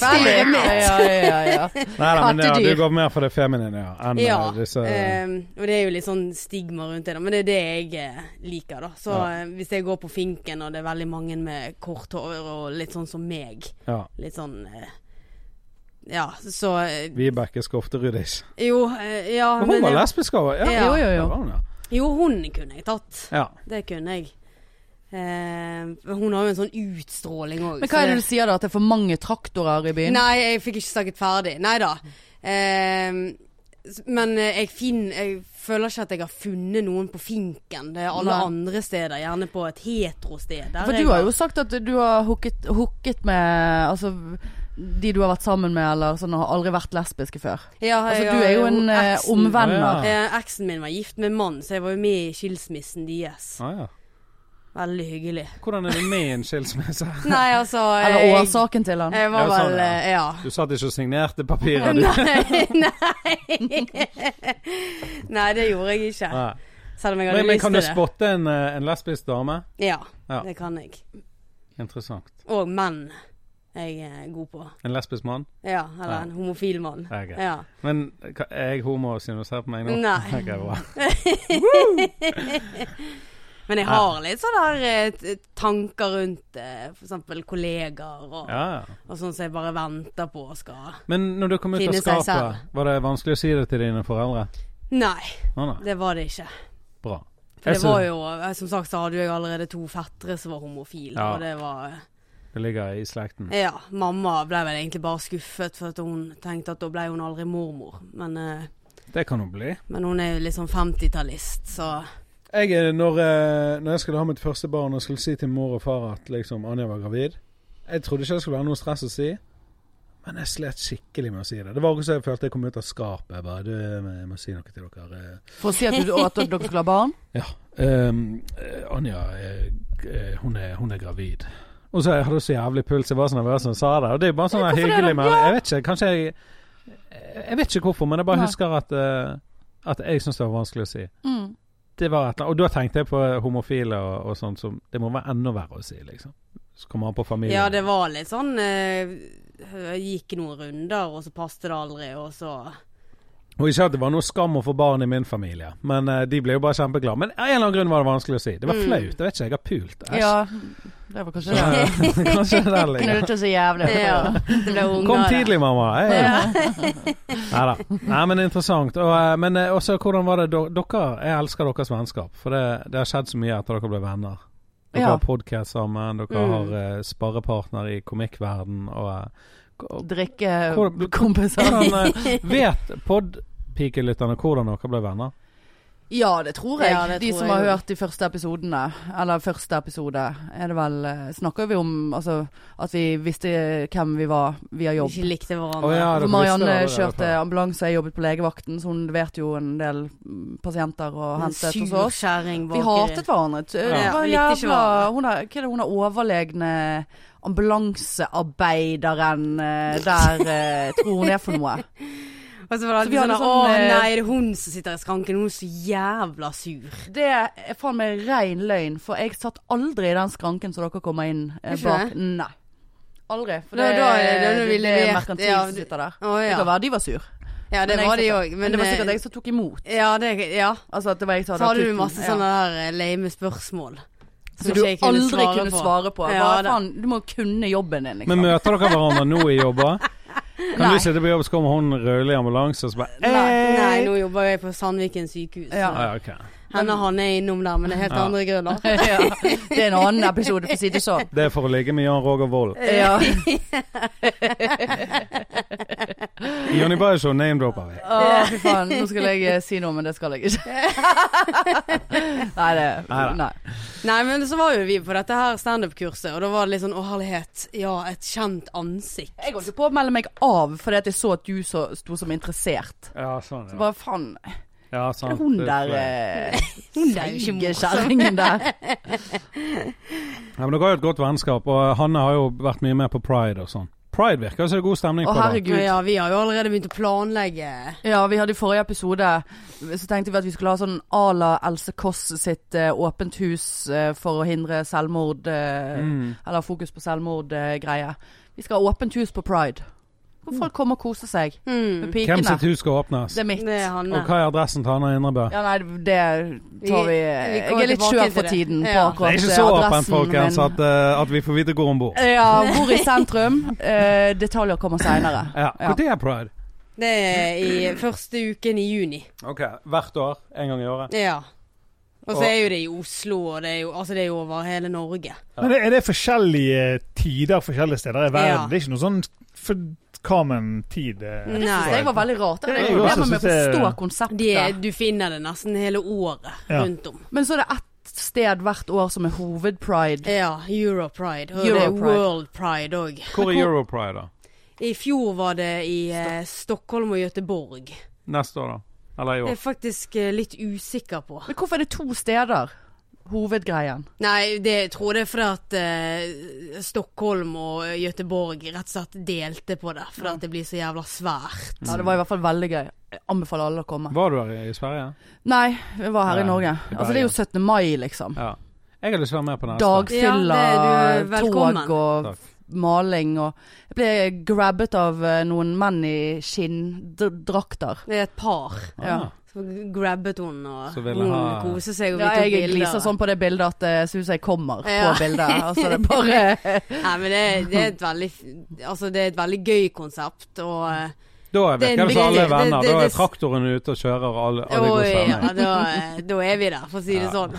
S2: Ja, ja, ja, ja.
S1: Nei da, men ja, du
S2: kattedyr.
S1: går mer for det feminine ja, enn
S3: Ja.
S1: eh, disse
S3: Eh, og det er jo litt sånn stigma rundt det, da. men det er det jeg eh, liker, da. Så
S1: Ja.
S3: eh, hvis jeg går på finken, og det er veldig mange med kort hår og litt sånn som meg,
S1: Ja.
S3: litt sånn eh, Ja, så eh,
S1: Vibeke Skofterud-ish.
S3: Jo, eh, ja
S1: Hun var
S3: jeg-
S1: lesbisk òg, ja.
S3: Ja.
S2: Jo, jo,
S1: Det
S2: jo.
S1: var hun, ja.
S3: Jo, hun kunne jeg tatt.
S1: ja.
S3: Det kunne jeg. Eh, hun har jo en sånn utstråling òg.
S2: Men hva er det du sier da? At det er for mange traktorer i byen?
S3: Nei, jeg fikk ikke snakket ferdig. Nei da. Eh, s- men eh, jeg, finn, jeg føler ikke at jeg har funnet noen på finken. Det er alle
S2: Nei.
S3: andre steder, gjerne på et heterosted. der
S2: For
S3: jeg
S2: du har jo sagt at du har hooket, hooket med Altså de du har vært sammen med, eller sånn, og har aldri vært lesbiske før.
S3: ja,
S2: Altså
S3: jeg
S2: du
S3: har
S2: er jo en eh,
S3: eksen-
S1: Å,
S2: omvender.
S3: Eh, Eksen min var gift med en mann, så jeg var jo med i skilsmissen deres.
S1: Ah, ja.
S3: Veldig hyggelig.
S1: Hvordan er det med i en skilsmisse?
S3: Nei, altså
S2: Eller
S3: jeg-
S2: årsaken til han.
S3: Jeg var
S1: Ja, sånn,
S3: vel
S1: ja.
S3: eh, Ja.
S1: Du satt ikke og signerte papiret, du.
S3: Nei, nei. nei, det gjorde jeg ikke.
S1: Nei.
S3: Selv om jeg hadde
S1: Men, men
S3: lyst
S1: kan
S3: til
S1: du
S3: det.
S1: spotte en, eh, en lesbisk dame?
S3: Ja,
S1: Ja.
S3: det kan jeg.
S1: Interessant.
S3: Og menn er jeg er god på.
S1: En lesbisk mann?
S3: Ja, eller
S1: Ja.
S3: en homofil mann.
S1: Ja, ok.
S3: Ja.
S1: Men ka- er jeg homo siden du ser på meg nå?
S3: Nei.
S1: Ok, bra.
S3: Men jeg har litt sånne der, eh, t- tanker rundt eh, for eksempel kollegaer og,
S1: Ja, ja.
S3: og sånn som jeg bare venter på og skal
S1: Men når du kom ut av
S3: Finne seg
S1: skapet, var det vanskelig å si det til dine foreldre?
S3: Nei,
S1: Å nei,
S3: det var det ikke.
S1: bra.
S3: For
S1: Jeg
S3: det var
S1: synes-
S3: jo eh, Som sagt så hadde jo jeg allerede to fettere som var homofile,
S1: Ja.
S3: og det var eh,
S1: Det ligger i slekten.
S3: Ja, mamma ble vel egentlig bare skuffet, for at hun tenkte at da ble hun aldri mormor. Men, eh,
S1: Det kan hun bli.
S3: men hun er jo litt sånn 50-tallist, så
S1: Jeg, eh, når, eh, når jeg skulle ha mitt første barn og skulle si til mor og far at liksom Anja var gravid, Jeg trodde ikke det skulle være noe stress å si, men jeg slet skikkelig med å si det. Det var akkurat som jeg følte jeg kom ut av skapet. Jeg bare, du, jeg må si noe til dere. eh,
S2: For å si at, du, og at dere skulle ha barn?
S1: Ehm, eh, Anja, eh, g- eh, hun, er, hun er gravid. Og så jeg hadde så jævlig puls, jeg var så sånn nervøs da jeg sa det. Og det er bare sånn
S2: Ja, hvorfor er
S1: hyggelig
S2: det-
S1: men Jeg vet ikke, kanskje jeg Jeg vet ikke hvorfor, men jeg bare
S2: Nei.
S1: husker at eh, At jeg syntes det var vanskelig å si.
S2: Mm.
S1: Det var et eller annet. Og da tenkte jeg på homofile og, og sånt som Det må være enda verre å si, liksom. Så kommer han på familien.
S3: Ja, det var litt sånn eh, Jeg gikk noen runder, og så passet det aldri, og så
S1: Og ikke at det var noe skam å få barn i min familie, men eh, de ble jo bare kjempeglade. Men av en eller annen grunn var det vanskelig å si. Det var
S3: Mm.
S1: flaut. Jeg vet ikke, jeg har pult. Æsj.
S2: Ja, det var kanskje det.
S1: Så, eh, Kanskje det der ligger.
S2: Knurrete så jævlig.
S3: Ja, det ble unger.
S1: Kom
S3: da.
S1: tidlig, mamma. Hey.
S3: Ja.
S1: Nei da. Nei, men interessant. Og, eh, men eh, også, hvordan var det do- dere Jeg elsker deres vennskap, for det, det har skjedd så mye etter dere ble venner. Dere
S2: Ja.
S1: har podkast sammen, dere
S3: Mm.
S1: har eh, sparrepartner i komikkverden og eh, Hvor-
S2: Drikkekompiser.
S1: Hvordan eh, vet podpikelytterne hvordan dere ble venner?
S2: Ja, det tror jeg.
S3: Ja, det
S2: de
S3: tror
S2: som
S3: jeg
S2: har
S3: jo.
S2: hørt de første episodene, eller første episode, er det vel eh, Snakker vi om altså, at vi visste hvem vi var via jobb?
S3: Ikke likte hverandre.
S1: Å ja,
S2: For
S1: dere
S2: Marianne
S1: visste det allerede
S2: kjørte
S1: før.
S2: ambulanse, jeg jobbet på legevakten, så hun leverte jo en del mm, pasienter og
S3: En
S2: hentet hos
S3: sur
S2: oss.
S3: kjerring
S2: Vi hatet hverandre. T-
S1: Ja.
S2: Det var
S3: Vi likte ikke
S2: jævla
S3: hverandre.
S2: hun er, Hva er det hun er overlegne ambulansearbeideren eh, der eh, tror hun er for noe?
S3: Og så var
S2: Så
S3: det
S2: vi
S3: alltid
S2: hadde
S3: sånn Å
S2: sånn, eh,
S3: nei, det er hun som sitter i skranken. Hun er så jævla sur.
S2: Det er faen meg rein løgn, for jeg satt aldri i den skranken som dere kommer inn eh,
S3: Ikke
S2: bak. Nei. Aldri. For
S3: Da-
S2: det,
S3: da er det- da er det vi
S2: det, det er
S3: levert,
S2: merkantil
S3: ja,
S2: som
S3: det-
S2: sitter der.
S3: Å
S2: Det
S3: ja.
S2: kan være de var sur.
S3: Ja, det
S2: men jeg
S3: var de
S2: satt-
S3: òg.
S2: Men det var sikkert jeg som tok imot.
S3: Ja, det, ja.
S2: Altså at det var jeg som
S3: Så
S2: hadde
S3: hadde du
S2: tuten.
S3: masse
S2: Ja.
S3: sånne der eh, lame spørsmål.
S2: Som du
S3: ikke jeg
S2: aldri kunne svare på.
S3: Ja,
S2: Bare,
S3: det-
S2: faen, du må kunne jobben din, liksom.
S1: Men møter dere hverandre nå i jobber? Kan
S2: Nei.
S1: du sitte på jobb, så kommer hun rødlig i ambulanse, og så bare
S3: Nei, nei,
S1: «Ei!»
S3: nå jobber jeg på Sandviken sykehus.
S2: Ja.
S1: Ah, ja, ok.
S3: Henne han er innom der, men det er helt
S1: Ja.
S3: andre grunner.
S2: ja, det er en annen episode, for å si det sånn.
S1: Det er for å ligge med Jan Roger Vold.
S2: Ja.
S1: I Jonny Bayer Show name-dropper vi.
S2: Å, fy faen. Nå skulle jeg eh, si noe, men det skal jeg ikke. Nei, det
S1: Neida.
S2: Nei.
S3: Nei, men så var jo vi på dette her standup-kurset, og da var det litt sånn å herlighet, ja, et kjent ansikt.
S2: Jeg holdt jo på å melde meg av fordi at jeg så at du så, sto som interessert.
S1: Ja, sånn,
S2: Så
S1: ja.
S2: bare faen,
S1: ja sant.
S2: hun
S1: Det er
S2: der
S1: flere.
S2: eh,
S3: Hun er jo ikke
S2: seige
S3: morsom.
S2: kjerringen der.
S1: Ja, men Dere har jo et godt vennskap, og eh, Hanne har jo vært mye med på pride og sånn. Pride virker jo som det er god stemning
S2: Å,
S1: på. da.
S2: herregud.
S3: Ja, vi har jo allerede begynt å planlegge.
S2: Ja, vi hadde i forrige episode Så tenkte vi at vi skulle ha sånn à la Else Kåss sitt eh, åpent hus eh, for å hindre selvmord eh,
S1: Mm.
S2: Eller fokus på selvmord-greie. vi skal ha åpent hus på pride. Hvor folk kommer og koser seg med
S3: Mm.
S1: Hvem
S2: pikene.
S1: sitt hus skal åpnes?
S2: Det er mitt.
S3: Det er Hanne.
S1: Og hva er adressen til Hanne Indrebø?
S2: Ja, nei, det tar vi,
S3: Vi- vi kommer
S2: Jeg er litt
S3: tilbake
S2: skjør
S3: til
S2: for
S3: det.
S2: tiden på
S3: Ja.
S1: Det
S2: akkurat
S1: er ikke
S2: eh,
S1: så åpent,
S2: adressen
S1: folkens,
S2: min.
S1: at, eh, at vi får vite hvor hun bor.
S2: Ja, bor i sentrum. Eh, detaljer kommer seinere.
S1: Ja,
S2: Ja.
S1: Når er pride?
S3: Det er i første uken i juni.
S1: Ok, Hvert år? En gang i året?
S3: Ja. Og så
S1: Og-
S3: er jo det i Oslo, og det er jo, altså det er jo over hele Norge.
S4: Men det, er det forskjellige tider forskjellige steder i verden?
S3: Ja. Mm.
S4: Det er ikke noe sånn for common tid? eh,
S3: Nei.
S2: Det synes jeg var veldig rart. Det
S4: Det
S2: er
S4: er jo også,
S2: problemer med å
S4: synes jeg-
S2: forstå konseptet.
S3: De er, du finner det nesten hele året
S4: Ja.
S3: rundt om.
S2: Men så er det ett sted hvert år som er hovedpride.
S3: Ja, Europride. Og det er
S2: Europride.
S3: World Pride òg.
S1: Hvor er Europride, da?
S3: I fjor var det i eh, Stockholm og Göteborg.
S1: Neste år, da? Eller i
S3: Det er
S1: år?
S3: jeg faktisk eh, litt usikker på.
S2: Men hvorfor er det to steder? Hovedgreien.
S3: Nei, det jeg tror det er fordi at eh, Stockholm og Göteborg rett og slett delte på det. Fordi at det blir så jævla svært.
S2: Ja, det var i hvert fall veldig gøy. Jeg anbefaler alle å komme.
S1: Var du her i Sverige?
S2: Nei, vi var her
S1: Nei,
S2: i Norge.
S1: i
S2: Altså det er jo 17. mai, liksom.
S1: Ja. Jeg har lyst til å være med på neste.
S2: Dagfylla,
S3: Ja, det- du er velkommen.
S2: tog og
S1: Takk.
S2: maling og Jeg ble grabbet av eh, noen menn i skinndrakter.
S3: Det er et par
S2: Ja.
S1: Ah.
S3: som grabbet hun og
S1: Så ville
S3: hun
S1: ha-
S3: koser seg og vi
S2: Ja,
S3: tok
S2: jeg
S3: bilder.
S2: gliser sånn på det bildet at det ser ut som jeg kommer
S3: Ja.
S2: på bildet. Altså det er bare
S3: Nei, men det, det er et veldig Altså, det er et veldig gøy konsept, og eh,
S1: Da er
S3: Det er
S1: virker
S3: en
S1: det som alle er
S3: viktig-
S1: venner.
S3: det- det-
S1: da er
S3: det-
S1: traktoren ute og kjører, og alle, alle
S3: Og,
S1: går sammen.
S3: ja, da, eh, da er vi der, for å si det
S1: Ja.
S3: sånn.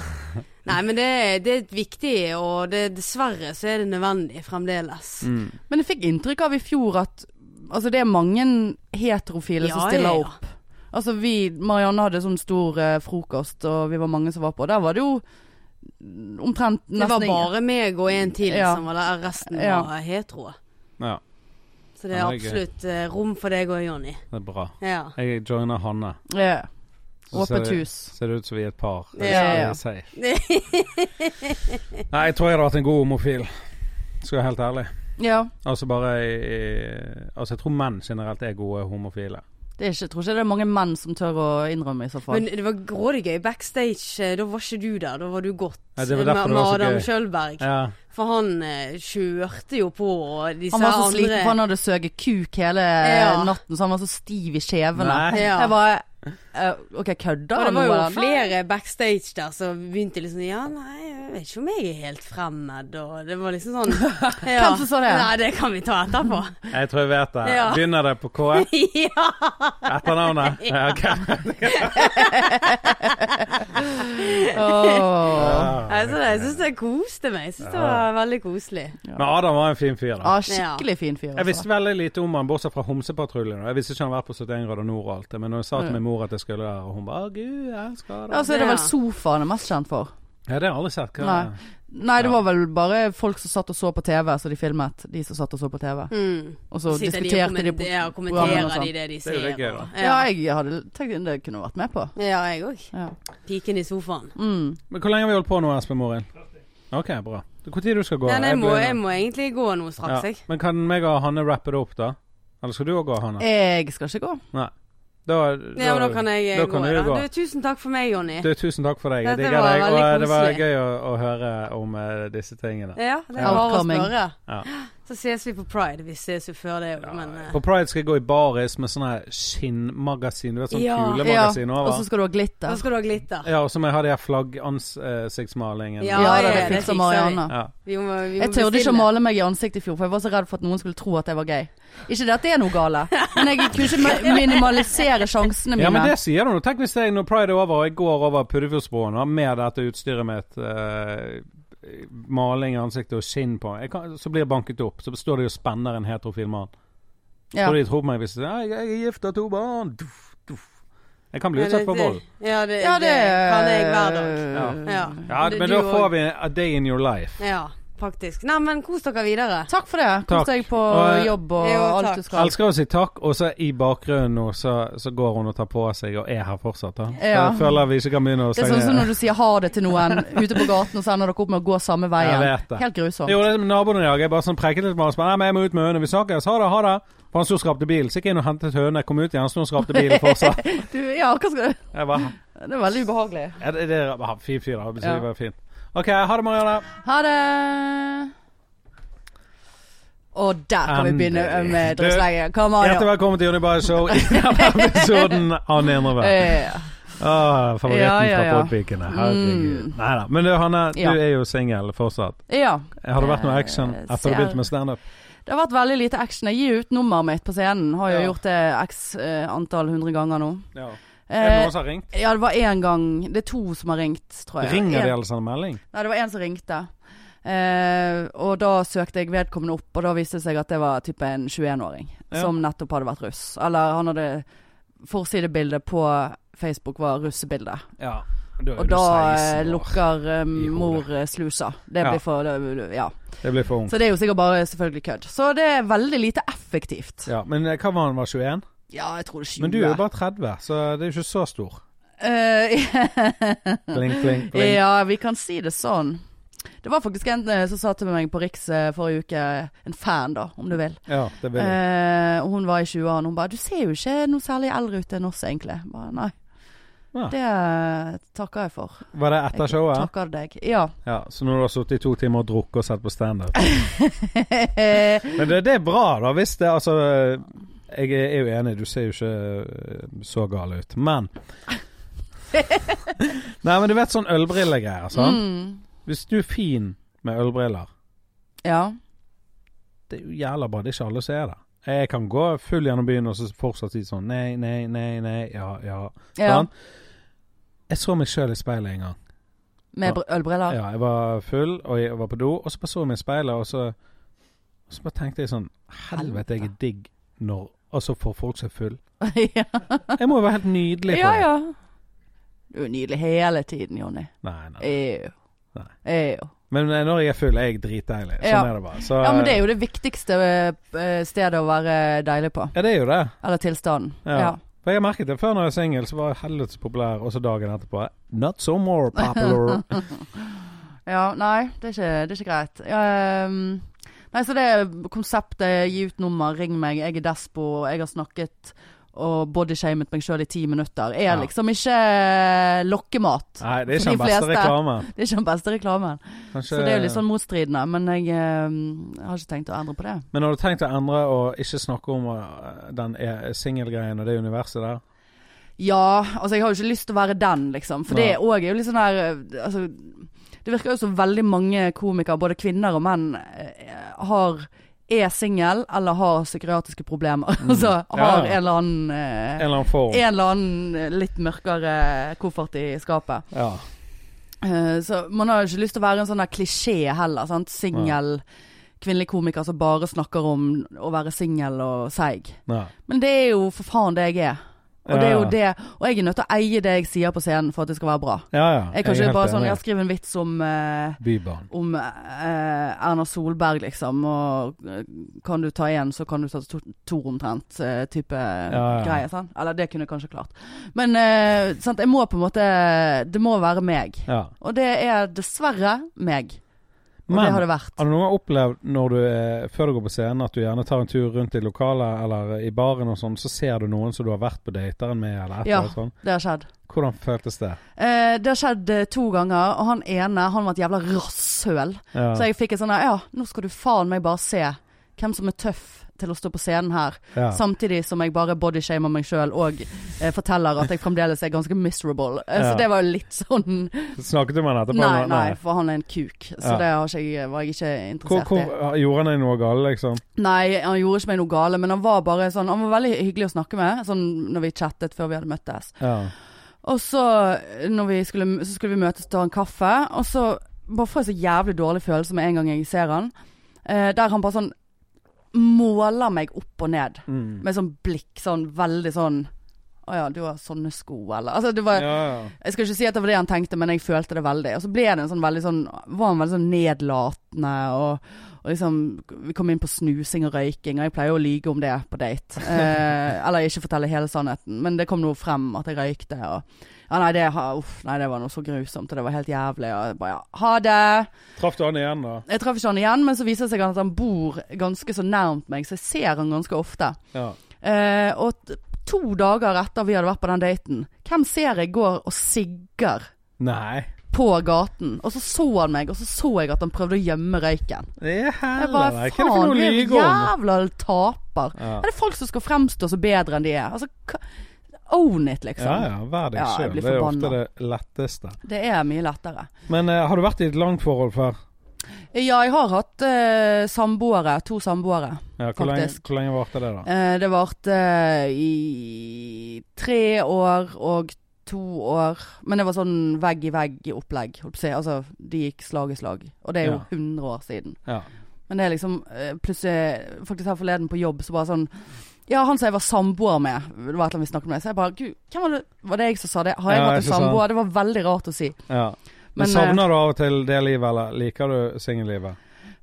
S3: Nei, men det, det er viktig, og det, dessverre så er det nødvendig fremdeles.
S1: Mm.
S2: Men jeg fikk inntrykk av i fjor at altså, det er mange heterofile som
S3: Ja,
S2: stiller
S3: ja, ja.
S2: opp. Altså vi, Marianne hadde sånn stor eh, frokost, og vi var mange som var på. Der var det jo omtrent
S3: Det var
S2: nesten ingen-
S3: bare meg og en til
S2: Ja.
S3: som var der. Resten
S2: Ja.
S3: var heteroer.
S1: Ja,
S3: Så det er
S1: Ja, det er gøy.
S3: absolutt eh, rom for deg og Jonny.
S1: det er bra.
S3: Ja.
S1: Jeg joiner Hanne.
S2: Ja.
S1: Så ser
S2: Åpent
S1: det-
S2: hus.
S1: Ser det ut som vi er et par. Det
S3: Ja,
S1: skal
S2: ja.
S1: jeg si. Nei, jeg tror jeg hadde vært en god homofil. Skal jeg være helt ærlig.
S2: Ja.
S1: Altså bare jeg, Altså jeg tror menn generelt er gode homofile.
S2: Det er ikke, jeg tror ikke det er mange menn som tør å innrømme i så fall.
S3: Men det var grådig gøy. Backstage, eh, da var ikke du der. Da var du godt
S1: Ja, det var
S3: eh,
S1: derfor
S3: med,
S1: det var så
S3: med Adam
S1: gøy.
S3: Kjølberg.
S1: Ja.
S3: For han eh, kjørte jo på, og disse
S2: han var så
S3: andre
S2: sliten, for han hadde søket kuk hele
S3: Ja.
S2: natten, så han var så stiv i skjevene.
S1: Nei.
S3: Ja.
S2: Jeg bare eh, OK, kødder
S3: Og det
S2: han nå?
S3: var jo
S2: eller?
S3: flere backstage der som begynte liksom Ja, nei, jeg vet ikke om jeg er helt fremmed, og det var liksom sånn ja.
S2: Hvem som sa det?
S3: Nei, det kan vi ta etterpå.
S1: Jeg tror jeg vet det.
S3: Ja.
S1: Begynner det på K?
S3: ja.
S1: Etternavnet? Ja, ok.
S2: Åh.
S1: Ja.
S3: Altså, jeg syns jeg koste meg. Jeg syns det var veldig koselig.
S1: Men Adam var en fin fyr, da.
S2: Ah, skikkelig fin fyr,
S1: Jeg
S2: altså.
S1: visste veldig lite om han, bortsett fra Homsepatruljen. Jeg visste ikke han var på 71 grader nord og alt det, men når jeg sa til min mor at jeg skulle der, og hun bare «Å, 'Gud, jeg skal
S2: Ja,
S1: da'.
S2: så er det vel
S3: Ja.
S2: sofa han er mest kjent for.
S1: Ja, det har jeg aldri sett. Hva
S2: Nei. Nei, det
S1: Ja.
S2: var vel bare folk som satt og så på TV, så de filmet. De som satt og så på TV.
S3: Mm.
S2: Og så
S3: Sitter de og
S2: diskuterte de
S3: kommenter-
S2: på
S3: ja, og
S2: programmene og
S3: kommenterer de
S2: sånn.
S1: er jo
S3: det de ser.
S1: litt gøy, da.
S3: og-
S2: Ja, jeg hadde tenkt det kunne vært med på.
S3: ja, jeg òg.
S2: Ja.
S3: Piken i sofaen.
S2: Mm.
S1: Men Hvor lenge har vi holdt på nå, Espen Morin? OK, bra. Når du skal gå?
S3: Men jeg må,
S1: begynner.
S3: jeg må egentlig gå nå straks, jeg.
S1: ja. Men kan meg og Hanne rappe det opp, da? Eller skal du òg gå, Hanne?
S2: Jeg skal ikke gå.
S1: Nei. Da, da,
S3: Ja, men da kan jeg eh,
S1: da
S3: gå.
S1: kan du
S3: da.
S1: gå.
S3: Du, tusen takk for meg, Jonny.
S1: du, tusen takk for deg. Jeg
S3: Dette
S1: digger
S3: var
S1: deg. Og
S3: veldig
S1: eh, det var
S3: koselig.
S1: gøy å, å høre om eh, disse tingene.
S3: Ja, det
S1: Ja.
S3: er bare å
S2: Upcoming.
S3: spørre.
S1: Ja.
S3: Så ses vi på Pride. Vi ses jo før det òg, men eh,
S1: På Pride skal jeg gå i baris med sånne her skinnmagasin. Du vet, sånn
S3: Ja.
S2: Ja,
S1: kulemagasin
S2: og så
S1: over.
S2: skal du ha
S3: da
S2: glitter.
S3: skal du ha glitter.
S1: Ja, og så må jeg ha de her flaggansiktsmalingen.
S3: Ja,
S2: Ja,
S3: ja,
S2: det
S3: det fikser
S2: fikser
S3: vi.
S2: Marianne.
S1: ja.
S3: Vi må, vi må
S2: Jeg turde ikke å
S3: bestille.
S2: male meg i ansiktet i fjor, for jeg var så redd for at noen skulle tro at jeg var gay. Ikke det at det er noe gale, men jeg kunne ikke mi- minimalisere sjansene mine.
S1: Ja, men det sier du nå. Tenk hvis jeg når Pride er over og jeg går over Puddefjordsbroen og har med dette utstyret mitt, eh, maling i ansiktet og skinn på, jeg kan, så blir jeg banket opp. Så står de og spenner en heterofil mann.
S2: Ja.
S1: Tror de tror på meg hvis de sier «Nei, 'jeg er gift og har to barn'. Duff, duff. Jeg kan bli
S3: Ja,
S1: utsatt
S3: det-
S1: for vold.
S3: Ja, det,
S2: Ja, det eh,
S3: det kan jeg hver dag. Ja,
S1: Ja,
S3: Du-
S1: men
S3: du
S1: da
S3: og-
S1: får vi a day in your life.
S3: Ja, faktisk. Nei, men kos dere videre.
S2: Takk for
S1: Takk.
S2: det. Kos deg på
S1: Og, eh,
S2: jobb og
S3: Jo, takk.
S2: alt du skal.
S1: Elsker å si takk, og så i bakgrunnen nå så, så går hun og tar på seg og er her fortsatt. Da. Så
S2: Ja.
S1: Jeg føler vi ikke kan begynne å
S2: Det er sånn som
S1: stenge-
S2: når du sier ha det til noen ute på gaten, og så ender dere opp med å gå samme
S1: Jeg
S2: veien.
S1: vet det.
S2: Helt grusomt.
S1: Jo, det er som naboen i dag. Jeg bare sånn preket litt med han. så bare, Nei, men jeg må ut med høne. Vi snakkes. Ha det, ha det. For han sto og skrapte bil. Så gikk jeg inn og hentet høne. Kom ut igjen, han sto og skrapte bil fortsatt.
S2: Du, ja, hva skal du
S1: Jeg bare,
S2: Det er veldig ubehagelig.
S1: ja, det, det er en fin fyr, da. Så
S2: Ja.
S1: det var fint. OK, ha det, Marianne.
S2: Ha det. Og der kan vi begynne
S1: Endelig.
S2: med
S1: Du,
S2: drittslenge. Kom an,
S1: Hjertelig velkommen til Jonny Bae Show i denne episoden av Nedre Vær. Åh, Ah, Favoritten
S2: Eh. Ja, ja, ja.
S1: fra Podpikene. Herregud.
S2: Mm.
S1: Nei da. Men du, Hanne, du
S2: Ja.
S1: er jo singel fortsatt.
S2: Ja.
S1: Har det vært noe action
S2: Eh,
S1: etter du
S2: ser-
S1: begynte med standup?
S2: Det har vært veldig lite action. Jeg gir ut nummeret mitt på scenen. Har jo
S1: Ja.
S2: gjort det x eh, antall hundre ganger nå.
S1: Ja. Er det
S2: Eh,
S1: noen som har ringt?
S2: ja, det var én gang Det er to som har ringt, tror jeg.
S1: Ringer de
S2: En-
S1: eller sender melding?
S2: Nei, det var én som ringte. Eh, og da søkte jeg vedkommende opp, og da viste det seg at det var type en 21-åring
S1: Ja.
S2: som nettopp hadde vært russ. Eller han hadde Forsidebildet på Facebook var russebilde.
S1: Ja. Da er
S2: Og
S1: du
S2: da eh,
S1: 16 år.
S2: lukker eh,
S1: hodet.
S2: mor eh, slusa. Det
S1: Ja.
S2: blir for det- Ja.
S1: Det blir for ungt.
S2: Så det er jo sikkert bare selvfølgelig kødd. Så det er veldig lite effektivt.
S1: Ja, men eh, hva var han, var 21?
S2: Ja, jeg tror det er 20.
S1: Men du er jo bare 30, så det er jo ikke så stor.
S2: Eh,
S1: Bling, bling, bling.
S2: ja, vi kan si det sånn. Det var faktisk en eh, som sa til meg på Riks eh, forrige uke, en fan da, om du vil.
S1: Ja, det vil jeg.
S2: Eh, og hun var i 20-årene. Hun bare 'Du ser jo ikke noe særlig eldre ut enn oss, egentlig'. Jeg Bare, Nei.
S1: Ja.
S2: Det eh, takker jeg for.
S1: Var det
S2: Jeg
S1: Ah. etter showet?
S2: takker deg. Ja.
S1: Ja, Så når du har sittet i to timer og drukket og sett på standup Men det, det er bra, da, hvis det Altså Jeg er jo enig, du ser jo ikke eh, så gal ut, men Nei, men du vet sånn ølbrillegreier, sant?
S2: Mm.
S1: Hvis du er fin med ølbriller,
S2: Ja.
S1: det er jo jævla bra. Det er ikke alle som er det. Jeg kan gå full gjennom byen og så fortsatt si sånn nei, nei, nei, nei, ja, ja.
S2: ja.
S1: Sant? Jeg så meg sjøl i speilet en gang.
S2: Med br- ølbriller.
S1: Ja, jeg var full, og jeg var på do, og så bare så jeg meg i speilet, og så, og så bare tenkte jeg sånn Helvete, jeg er digg når Altså, for folk som er full.
S2: ja.
S1: Jeg må jo være helt nydelig for
S2: ja,
S1: det.
S2: ja. Du er nydelig hele tiden, Jonny.
S1: Nei, nei,
S2: Ew.
S1: Nei.
S2: Er jo.
S1: Men eh, når jeg er full, er jeg dritdeilig. Sånn
S2: Ja.
S1: er det bare. Så,
S2: Ja, men det er jo det viktigste eh, stedet å være deilig på.
S1: Ja, det er jo det.
S2: Eller tilstanden.
S1: Ja.
S2: Ja.
S1: For jeg har merket det før når jeg var singel, så var jeg helvetes populær, og så dagen etterpå Not so more popular.
S2: Ja, nei, det er ikke, det er ikke greit. Ehm, nei, så det konseptet gi ut nummer, ring meg, jeg er despo, jeg har snakket og bodyshamet meg sjøl i ti minutter, er
S1: Ja.
S2: liksom ikke eh, lokkemat.
S1: Nei, det er
S2: For
S1: ikke
S2: de
S1: den beste
S2: fleste.
S1: reklamen.
S2: Det er ikke den beste reklamen.
S1: Kanskje-
S2: Så det er jo litt sånn motstridende, men jeg ehm, har ikke tenkt å endre på det.
S1: Men har du tenkt å endre og ikke snakke om eh, den eh, singelgreien og det universet der?
S2: Ja, altså jeg har jo ikke lyst til å være den, liksom. For det
S1: Nei.
S2: òg er jo litt sånn der eh, Altså, det virker jo som veldig mange komikere, både kvinner og menn, eh, har er singel eller har psykiatriske problemer. altså har
S1: Mm. Ja.
S2: en eller annen eh,
S1: En eller annen form?
S2: En eller annen eh, litt mørkere eh, koffert i skapet.
S1: Ja.
S2: Eh, så man har jo ikke lyst til å være en sånn der klisjé heller. sant? Singel kvinnelig komiker som bare snakker om å være singel og seig.
S1: Nei.
S2: Men det er jo for faen det jeg er. Og det er jo det Og jeg er nødt til å eie det jeg sier på scenen for at det skal være bra.
S1: Ja, ja.
S2: Jeg kan ikke
S1: helt
S2: bare sånn
S1: enig.
S2: Jeg skriver en vits om eh,
S1: Bybanen.
S2: om eh, Erna Solberg, liksom, og eh, kan du ta én, så kan du ta to, to omtrent, eh, type
S1: ja.
S2: greie. Sant? Eller det kunne jeg kanskje klart. Men eh, sant, jeg må på en måte Det må være meg.
S1: Ja.
S2: Og det er dessverre meg. Og det
S1: Men
S2: har
S1: har
S2: det vært.
S1: du noen gang opplevd, når du, er- før du går på scenen, at du gjerne tar en tur rundt i lokalet eller i baren og sånn, så ser du noen som du har vært på dateren med eller et
S2: Ja.
S1: eller annet sånn?
S2: Det har skjedd.
S1: Hvordan føltes det?
S2: Eh, det har skjedd eh, to ganger, og han ene han var et jævla rasshøl.
S1: Ja.
S2: Så jeg fikk et sånn her, ja, nå skal du faen meg bare se hvem som er tøff til å stå på scenen her.
S1: ja.
S2: Samtidig som jeg bare bodyshamer meg sjøl og eh, forteller at jeg fremdeles er ganske miserable. Eh,
S1: Ja.
S2: Så det var jo litt sånn
S1: Snakket du med han etterpå?
S2: Nei, nei, for han er en kuk. Så
S1: Ja.
S2: det har ikke, jeg- var jeg ikke
S1: Hvor,
S2: interessert
S1: hvor,
S2: i.
S1: gjorde han deg noe galt, liksom?
S2: Nei, han gjorde ikke meg noe gale, men han var bare sånn Han var veldig hyggelig å snakke med, sånn når vi chattet før vi hadde møttes.
S1: Ja.
S2: Og så, eh, når vi skulle, så skulle vi møtes og ta en kaffe, og så bare får jeg så jævlig dårlig følelse med en gang jeg ser han. Eh, der han bare sånn måler meg opp og ned
S1: Mm.
S2: med sånn blikk, sånn veldig sånn Å ja, du har sånne sko, eller Altså, det var
S1: ja, ja.
S2: Jeg skal ikke si at det var det han tenkte, men jeg følte det veldig. Og så ble det en sånn veldig sånn Var han veldig sånn nedlatende og og liksom, Vi kom inn på snusing og røyking, og jeg pleier jo å lyge om det på date. Eh, eller ikke fortelle hele sannheten, men det kom noe frem at jeg røykte. Og, ja, nei, det, har- uff, nei, det var noe så grusomt, og det var helt jævlig. Og jeg bare ja, ha det.
S1: Traff du han igjen, da?
S2: Jeg traff ikke han igjen, men så viser det seg at han bor ganske så nærmt meg, så jeg ser han ganske ofte.
S1: Ja.
S2: Eh, og t- to dager etter vi hadde vært på den daten, hvem ser jeg går og sigger
S1: Nei.
S2: på gaten? Og så så han meg, og så så jeg at han prøvde å gjemme røyken.
S1: Det er
S2: Jeg
S1: heller Hva
S2: bare
S1: er det for
S2: faen,
S1: noe
S2: du
S1: å
S2: er en
S1: lyge om?
S2: jævla taper.
S1: Ja.
S2: Er det folk som skal fremstå så bedre enn de er? Altså, k- own it,
S1: ja
S2: liksom.
S1: ja, vær deg
S2: Ja, jeg
S1: sjøl.
S2: blir
S1: Det er ofte det
S2: forbanna.
S1: letteste.
S2: Det er mye lettere.
S1: Men eh, har du vært i et langt forhold før?
S2: Ja, jeg har hatt eh, samboere. To samboere.
S1: Ja, hvor, lenge,
S2: Faktisk.
S1: hvor lenge varte det, da?
S2: Eh, det varte eh, i tre år og to år. Men det var sånn vegg-i-vegg-opplegg. holdt på å si. Altså, de gikk slag i slag. Og det er jo
S1: Ja.
S2: 100 år siden.
S1: Ja.
S2: Men det er liksom eh, plutselig Faktisk her forleden på jobb, så bare sånn Ja, han som jeg var samboer med, det var et eller annet vi snakket med, så jeg bare Gud, hvem var det Var det jeg som sa det? Har jeg
S1: Ja,
S2: vært
S1: ikke
S2: en
S1: sant.
S2: samboer? Det var veldig rart å si.
S1: ja. Men,
S2: Men, eh,
S1: savner du av og til det livet, eller liker du singellivet?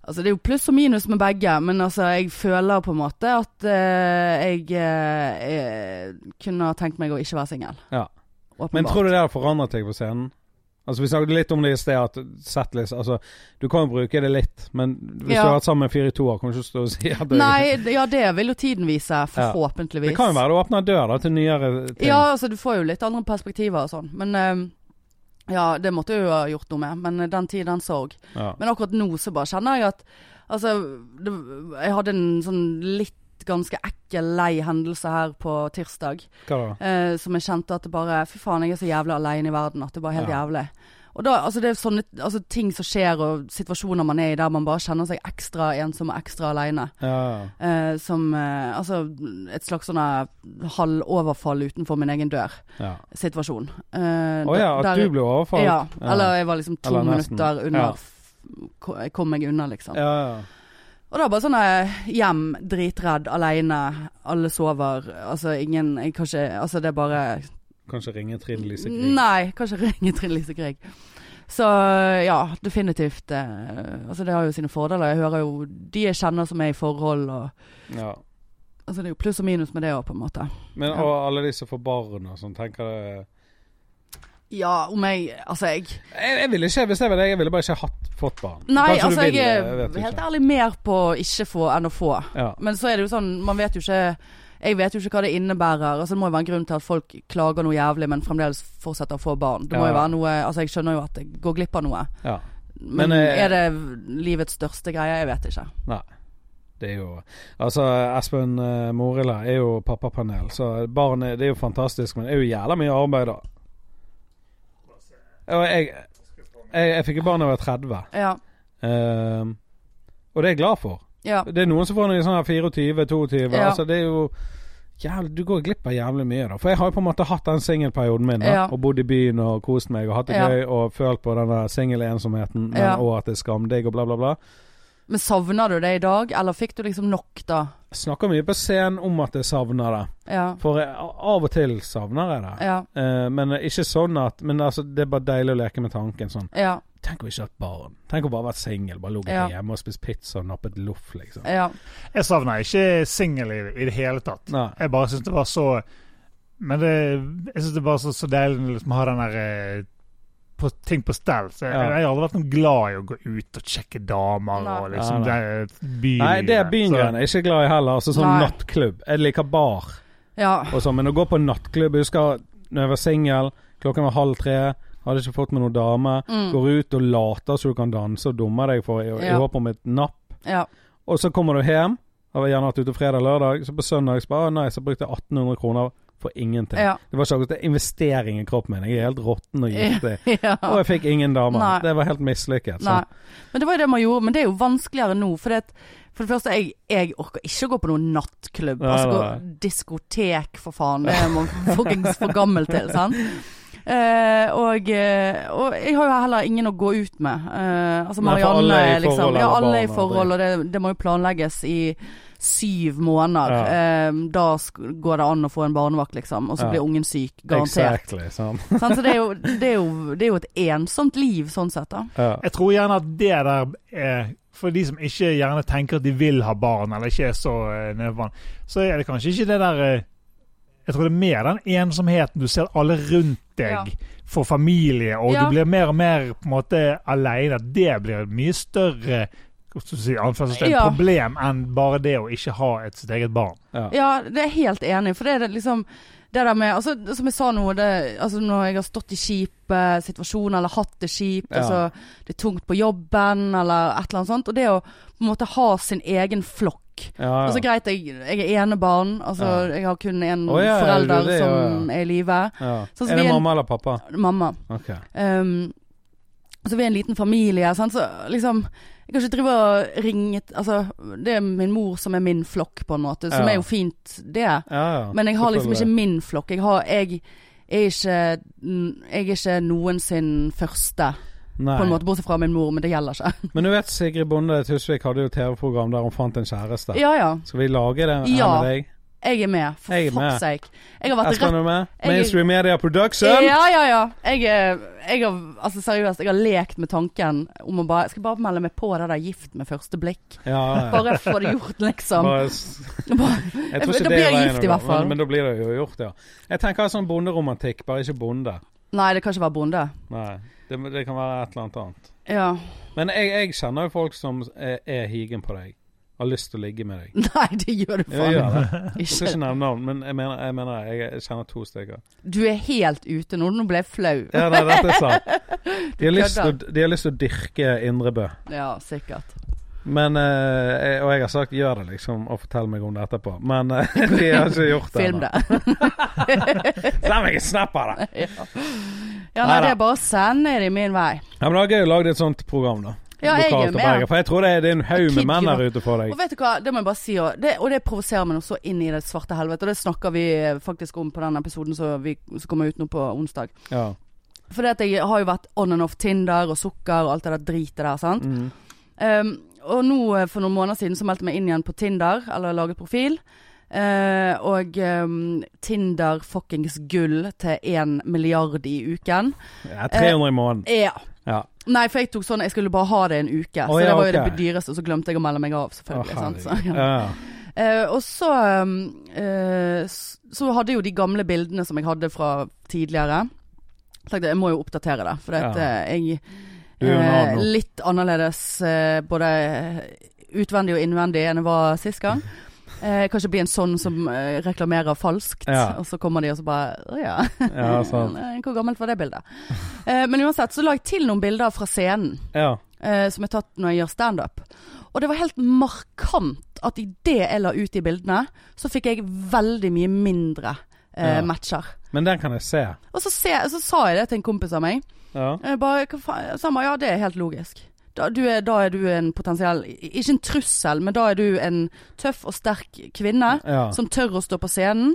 S2: Altså det er jo pluss og minus med begge, men altså jeg føler på en måte at eh, jeg eh, eh, kunne ha tenkt meg å ikke være singel.
S1: Ja.
S2: Åpenbart.
S1: Men tror du det har forandret deg på scenen? Altså Vi snakket litt om det i sted, at setlist Altså, du kan jo bruke det litt, men hvis
S2: Ja.
S1: du har vært sammen med fire i to år, kan du ikke stå og si at det
S2: Nei, d- ja det vil jo tiden vise, forhåpentligvis.
S1: Det kan jo være du åpner en dør da, til nyere ting.
S2: Ja, altså du får jo litt andre perspektiver og sånn, men eh, ja, det måtte jeg jo ha gjort noe med, men eh, den tid, den sorg.
S1: Ja.
S2: Men akkurat nå så bare kjenner jeg at Altså, det, jeg hadde en sånn litt ganske ekkel, lei hendelse her på tirsdag.
S1: Hva da?
S2: Eh, som jeg kjente at det bare Fy faen, jeg er så jævlig alene i verden at det bare er helt
S1: Ja.
S2: jævlig. Og da, altså Det er sånne altså, ting som skjer og situasjoner man er i der man bare kjenner seg ekstra ensom og ekstra alene.
S1: Ja, ja.
S2: Eh, som eh, altså et slags sånn her halvoverfall utenfor min egen
S1: ja.
S2: dør-situasjon. Eh,
S1: Å ja,
S2: der-
S1: at du ble overfalt?
S2: Ja, eller jeg var liksom to
S1: Eller nesten.
S2: minutter
S1: Ja.
S2: under f- ko- Jeg kom meg unna, liksom.
S1: ja, ja.
S2: Og da bare sånn eh, hjem, dritredd, aleine, alle sover. Altså ingen Jeg kan ikke Altså det er bare
S1: Kanskje ringe Trine Lise Grieg.
S2: Nei, kanskje ringe Trine Lise Grieg. Så ja, definitivt. eh, Altså det har jo sine fordeler. Jeg hører jo de jeg kjenner som er i forhold og
S1: Ja.
S2: Altså det er jo pluss og minus med det òg, på en måte.
S1: Men og alle de som får barn og sånn, tenker det
S2: Ja, om jeg Altså jeg
S1: jeg, jeg ville ikke, hvis jeg var deg, jeg ville bare ikke hatt fått barn.
S2: Nei,
S1: Kanskje du
S2: altså
S1: vil,
S2: jeg
S1: jeg
S2: er
S1: vet
S2: helt
S1: ikke.
S2: ærlig mer på ikke få enn å få.
S1: Ja.
S2: Men så er det jo sånn, man vet jo ikke Jeg vet jo ikke hva det innebærer. Altså Det må jo være en grunn til at folk klager noe jævlig, men fremdeles fortsetter å få barn. Det må
S1: Ja.
S2: jo være noe Altså Jeg skjønner jo at jeg går glipp av noe.
S1: ja.
S2: Men,
S1: Men, eh,
S2: er det livets største greie? Jeg vet ikke.
S1: Nei. Det er jo Altså, Espen eh, Morilla er jo pappapanel, så barn er, det er jo fantastisk, men det er jo jævla mye arbeid, da. Og jeg, jeg, jeg fikk jo barn da jeg var 30,
S2: Ja.
S1: eh, og det er jeg glad for.
S2: Ja.
S1: Det er noen som får noe sånn her 24-22.
S2: Ja.
S1: Altså det er jo jævlig, Du går glipp av jævlig mye, da. For jeg har jo på en måte hatt den singelperioden min. da,
S2: Ja.
S1: Og bodd i byen og kost meg og hatt det
S2: Ja.
S1: gøy og følt på den der singelensomheten, men
S2: Ja.
S1: òg at det er skamdigg og bla, bla, bla.
S2: Men savner du det i dag, eller fikk du liksom nok da?
S1: Jeg snakker mye på scenen om at jeg savner det.
S2: Ja.
S1: For jeg, av og til savner jeg det.
S2: Ja.
S1: Eh, men ikke sånn at Men altså, det er bare deilig å leke med tanken sånn.
S2: Ja.
S1: Tenk å ikke ha hatt barn. Tenk å bare vært singel. Bare ligget
S2: Ja.
S1: hjemme og spist pizza og nappet loff, liksom.
S2: Ja.
S4: Jeg savner ikke singelliv i det hele tatt.
S1: Nei.
S4: Jeg bare syns det var så Men det, jeg syns det var så, så deilig å liksom ha den der eh, på, ting på stell. Så jeg,
S1: Ja.
S4: jeg har aldri vært noe glad i å gå ut og sjekke damer
S2: Nei.
S4: og
S1: Nei,
S4: liksom det bylivet.
S1: Nei, det er byngreiene.
S4: Så-
S1: Jeg er ikke glad i heller. Altså sånn
S2: Nei.
S1: nattklubb. Jeg liker bar
S2: ja.
S1: og sånn, men å gå på nattklubb Jeg husker når jeg var singel, klokken var halv tre, hadde ikke fått med noen dame.
S2: Mm.
S1: Går ut og later så du kan danse og dummer deg for i, i
S2: Ja.
S1: håp om et napp.
S2: ja.
S1: Og så kommer du hjem, og har gjerne vært ute fredag-lørdag, så på søndag så bare «Å, Nei, så brukte jeg 1800 kroner for ingenting.
S2: Ja.
S1: Det var ikke akkurat en investering i kroppen min. Jeg er helt råtten og giftig.
S2: ja.
S1: Og jeg fikk ingen damer.
S2: Nei.
S1: Det var helt mislykket. sånn.
S2: Nei.
S1: Så.
S2: Men det var jo det man gjorde. Men det er jo vanskeligere nå. For det, at, for det første, jeg, jeg orker ikke å gå på noen nattklubb.
S1: Nei,
S2: altså
S1: nei,
S2: gå diskotek, for faen. Det er man fuckings for gammel til, sant. Eh, og, eh, og jeg har jo heller ingen å gå ut med. Eh,
S1: Nei,
S2: altså
S1: for
S2: Marianne,
S1: alle er i forhold,
S2: liksom. Ja,
S1: eller
S2: alle er i
S1: barn,
S2: forhold, og det, det må jo planlegges i syv måneder.
S1: Ja.
S2: Eh, da sk- går det an å få en barnevakt, liksom. Og så
S1: Ja.
S2: blir ungen syk, garantert.
S1: Exactly, sånn. sant?
S2: Sant? Så det er, jo, det, er jo, det er jo et ensomt liv, sånn sett, da.
S1: Ja.
S4: Jeg tror gjerne at det der er for de som ikke gjerne tenker at de vil ha barn, eller ikke er så eh, nede på barn, så er det kanskje ikke det der eh, Jeg tror det er mer den ensomheten du ser alle rundt
S2: Ja.
S4: deg får familie, og
S2: Ja.
S4: du blir mer og mer på en måte aleine. Det blir et mye større hva skal du si, anførselstegn,
S2: Ja.
S4: problem enn bare det å ikke ha et sitt eget barn.
S1: Ja.
S2: Ja, det er jeg helt enig, i, for det er det liksom det der med, altså, Som jeg sa nå, det, altså, når jeg har stått i kjipe situasjoner eller hatt det kjipt,
S1: Ja.
S2: altså, det er tungt på jobben eller et eller annet sånt, og det å på en måte ha sin egen flokk
S1: Ja, ja.
S2: Altså Greit, jeg, jeg er enebarn, altså,
S1: Ja.
S2: jeg har kun én
S1: Å, ja, ja,
S2: forelder
S1: det er det,
S2: som
S1: ja,
S2: er i live.
S1: ja.
S2: Sånn som
S1: er
S2: vi
S1: det
S2: er-
S1: mamma eller pappa?
S2: Mamma.
S1: Ok.
S2: Um, så vi er en liten familie, sant? så liksom Jeg kan ikke drive og ringe t- Altså, det er min mor som er min flokk, på en måte, som
S1: Ja.
S2: er jo fint, det.
S1: Ja, ja.
S2: Men jeg har liksom ikke
S1: Selvfølgelig.
S2: min flokk. Jeg, har, jeg, er ikke, jeg er ikke noen sin første,
S1: Nei.
S2: på en måte, bortsett fra min mor, men det gjelder ikke.
S1: Men du vet Sigrid Bonde Tusvik hadde jo TV-program der hun fant en kjæreste.
S2: Ja ja,
S1: Skal vi lage det her
S2: Ja.
S1: med deg?
S2: jeg er med, for
S1: Jeg er med.
S2: fuck's sake. Jeg har vært
S1: Espen,
S2: rett
S1: er du med?
S2: Jeg-
S1: Mainstream Media Production!
S2: Ja, ja, ja. Jeg, er- jeg har, altså seriøst, jeg har lekt med tanken om å bare Jeg skal bare melde meg på det der gift med første blikk.
S1: Ja, ja.
S2: Bare få det gjort, liksom.
S1: Bare s-
S2: Bare,
S1: Jeg tror ikke
S2: Da
S1: det
S2: blir
S1: er
S2: jeg
S1: veien
S2: gift
S1: å
S2: i
S1: gå,
S2: hvert fall.
S1: Men, men da blir det jo gjort, ja. Jeg tenker sånn bonderomantikk, bare ikke bonde.
S2: nei, det kan ikke være bonde.
S1: Nei, det, det kan være et eller annet annet.
S2: Ja.
S1: Men jeg, jeg kjenner jo folk som er, er higen på deg. Har lyst til å ligge med deg.
S2: Nei, det gjør du
S1: Jeg,
S2: faen
S1: gjør det. jeg skal
S2: ikke.
S1: ikke nevne navn, men jeg mener, jeg, mener jeg, jeg kjenner to stykker.
S2: Du er helt ute nå. Nå ble jeg flau.
S1: Ja, nei, dette er sant. De har
S2: Du
S1: lyst til, å- de har lyst til å dyrke Indre Bø.
S2: Ja, sikkert.
S1: Men, eh, jeg- og jeg har sagt 'gjør det', liksom, og fortell meg om det etterpå. Men eh, de har ikke gjort det.
S2: Film
S1: ennå.
S2: det.
S1: Send meg en snap av det!
S2: ja. ja, nei,
S1: Neida.
S2: det er bare å sende det min vei.
S1: Ja, men det var gøy å lage et sånt program, da.
S2: Ja, jeg
S1: Lokalt
S2: er
S1: til Bergen,
S2: med.
S1: For jeg tror det er, det er en haug med
S2: Kid
S1: menn
S2: Giro.
S1: der ute for deg.
S2: Og vet du hva, det må jeg bare si òg, det, og det provoserer meg nå så inn i det svarte helvete, og det snakker vi eh, faktisk om på den episoden som vi- som kommer ut nå på onsdag.
S1: Ja.
S2: For det at jeg har jo vært on and off Tinder og sukker og alt det der dritet der, sant. Ehm,
S1: Mm.
S2: Um, og nå eh, for noen måneder siden så meldte jeg meg inn igjen på Tinder, eller laget profil. Eh, og ehm, Tinder fuckings gull til én milliard i uken. Eh,
S1: Ja, 300 i måneden.
S2: Ja.
S1: Ja.
S2: Nei, for jeg tok sånn Jeg skulle bare ha det en uke.
S1: Å,
S2: så
S1: ja,
S2: det var jo
S1: ok.
S2: det dyreste, og så glemte jeg å melde meg av, selvfølgelig.
S1: Å,
S2: sant? Så,
S1: herregud.
S2: ja.
S1: Ja.
S2: Eh, og så um, eh, s- Så hadde jeg jo de gamle bildene som jeg hadde fra tidligere. Tenkte jeg må jo oppdatere det, for at,
S1: Ja.
S2: eh, jeg
S1: Du er jo en
S2: eh,
S1: annen nå.
S2: Litt annerledes eh, både utvendig og innvendig enn jeg var sist gang. Eh, jeg kan ikke bli en sånn som eh, reklamerer falskt,
S1: Ja.
S2: og så kommer de og så bare Å ja.
S1: Ja, sant.
S2: Nei, Hvor gammelt var det bildet? Eh, men uansett så la jeg til noen bilder fra scenen
S1: Ja.
S2: eh, som er tatt når jeg gjør standup. Og det var helt markant at i det jeg la ut de bildene, så fikk jeg veldig mye mindre eh,
S1: Ja.
S2: matcher.
S1: Men den kan jeg se.
S2: Og så, se, så sa jeg det til en kompis av meg.
S1: Ja.
S2: Jeg bare, hva faen? Så han bare, ja det er helt logisk. Da, du er, da er du en potensiell Ikke en trussel, men da er du en tøff og sterk kvinne
S1: ja.
S2: som tør å stå på scenen.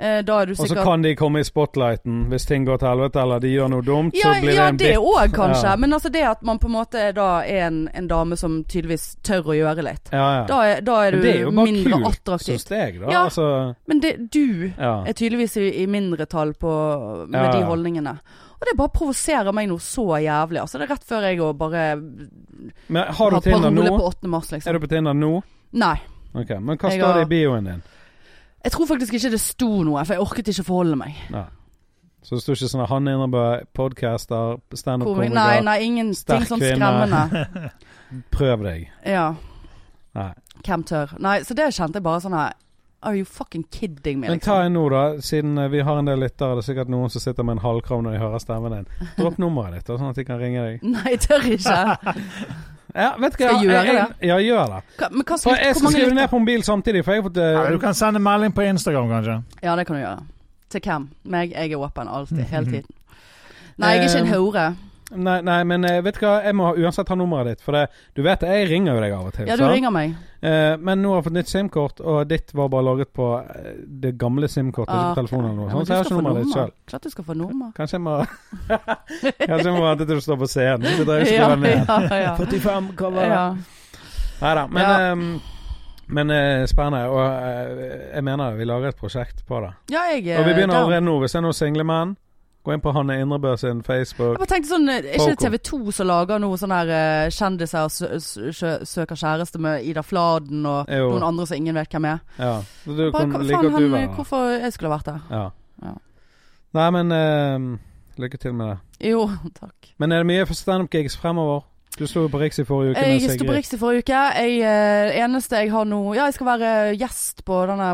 S2: Eh, da er du
S1: Og så
S2: sikkert
S1: kan de komme i spotlighten hvis ting går til helvete, eller de gjør noe dumt,
S2: ja,
S1: så blir
S2: ja,
S1: det en
S2: det
S1: bit.
S2: òg, kanskje.
S1: Ja.
S2: Men altså det at man på en måte da er en, en dame som tydeligvis tør å gjøre litt.
S1: Ja, ja.
S2: Da er, da er du
S1: Men det er jo bare
S2: mindre
S1: kult,
S2: attraktiv.
S1: Syns jeg, da.
S2: Ja.
S1: Altså,
S2: Men det, du
S1: ja.
S2: er tydeligvis i, i mindretall på- med
S1: Ja, ja.
S2: de holdningene. Og det bare provoserer meg noe så jævlig. Altså, det er rett før jeg og bare
S1: Men har du
S2: har
S1: Tinder
S2: parole
S1: nå?
S2: på 8. mars, liksom.
S1: Er du på Tinder nå?
S2: Nei.
S1: Ok, Men hva
S2: Jeg
S1: står det
S2: har-
S1: i bioen din?
S2: Jeg tror faktisk ikke det sto noe, for jeg orket ikke forholde meg.
S1: Så det står ikke sånn at Hanne Innerbø, podcaster,
S2: Komik- Nei,
S1: standup-komiker,
S2: nei, ingenting
S1: sterk
S2: sånn
S1: kvinne.
S2: skremmende.
S1: prøv deg.
S2: Ja.
S1: Nei.
S2: Hvem tør? Nei, så det kjente jeg bare sånn her Are you fucking kidding me,
S1: Men ta
S2: liksom?
S1: en nå, da. Siden eh, vi har en del lyttere, det er sikkert noen som sitter med en halvkram når de hører stemmen din. Dropp nummeret ditt, da, sånn at de kan ringe deg.
S2: Nei, jeg tør ikke.
S1: Ja, vet du hva?
S2: Skal jeg gjøre
S1: det? Ja, gjør det.
S2: Hva, men hva
S1: For
S2: skal
S1: jeg
S2: Hvor
S1: skal
S2: mange
S1: skrive
S2: lytter?
S1: ned på mobil samtidig, for jeg har fått eh,
S4: Ja, du kan sende melding på Instagram, kanskje.
S2: Ja, det kan du gjøre. Til hvem? Meg? Jeg er åpen alltid. Hele tiden. Nei, jeg er ikke en
S1: Eh,
S2: hore.
S1: Nei, nei, men eh, vet du hva, jeg må ha- uansett ha nummeret ditt. For det, du vet det, jeg ringer jo deg av og til.
S2: Ja, du
S1: sant?
S2: ringer meg.
S1: Eh, men nå har jeg fått nytt SIM-kort, og ditt var bare lagret på eh, det gamle SIM-kortet. ikke
S2: Ah,
S1: på telefonen eller noe
S2: ok.
S1: sånt, Sånn, så jeg har ikke
S2: Ja, men
S1: nummeret ditt
S2: du
S1: sjøl.
S2: skal få nummer. Klart du skal få nummer.
S1: Kanskje jeg må Kanskje jeg må vente til du står på scenen. Så sitter jeg og
S2: Ja,
S1: skriver ned.
S2: ja, ja.
S1: 45, hva var det?
S2: ja.
S1: Nei da. Men,
S2: Ja.
S1: ehm, men eh, spennende. Og eh, jeg mener vi lager et prosjekt på det.
S2: ja, jeg eh, er
S1: Og vi begynner
S2: down.
S1: allerede nå. Hvis det er noen single menn, gå inn på Hanne Indrebø sin
S2: Jeg
S1: Facebook.
S2: bare tenkte sånn, Er ikke det
S1: Poco.
S2: TV 2 som lager noe sånn her eh, kjendiser sø sø søker kjæreste med Ida Fladen og
S1: Jo.
S2: noen andre som ingen vet hvem er?
S1: Ja. Så Du
S2: Bare,
S1: kan
S2: hva
S1: like
S2: faen,
S1: godt du
S2: han,
S1: være der.
S2: hvorfor jeg skulle ha vært der?
S1: Ja.
S2: Ja.
S1: Nei, men eh, lykke til med det.
S2: Jo, takk.
S1: Men er det mye for standup-gigs fremover? Du sto jo på Riks i forrige uke. med
S2: Eh, Jeg sto
S1: Sigrid.
S2: på Riks i forrige uke. Jeg, eh, eneste jeg har nå Ja, jeg skal være gjest på denne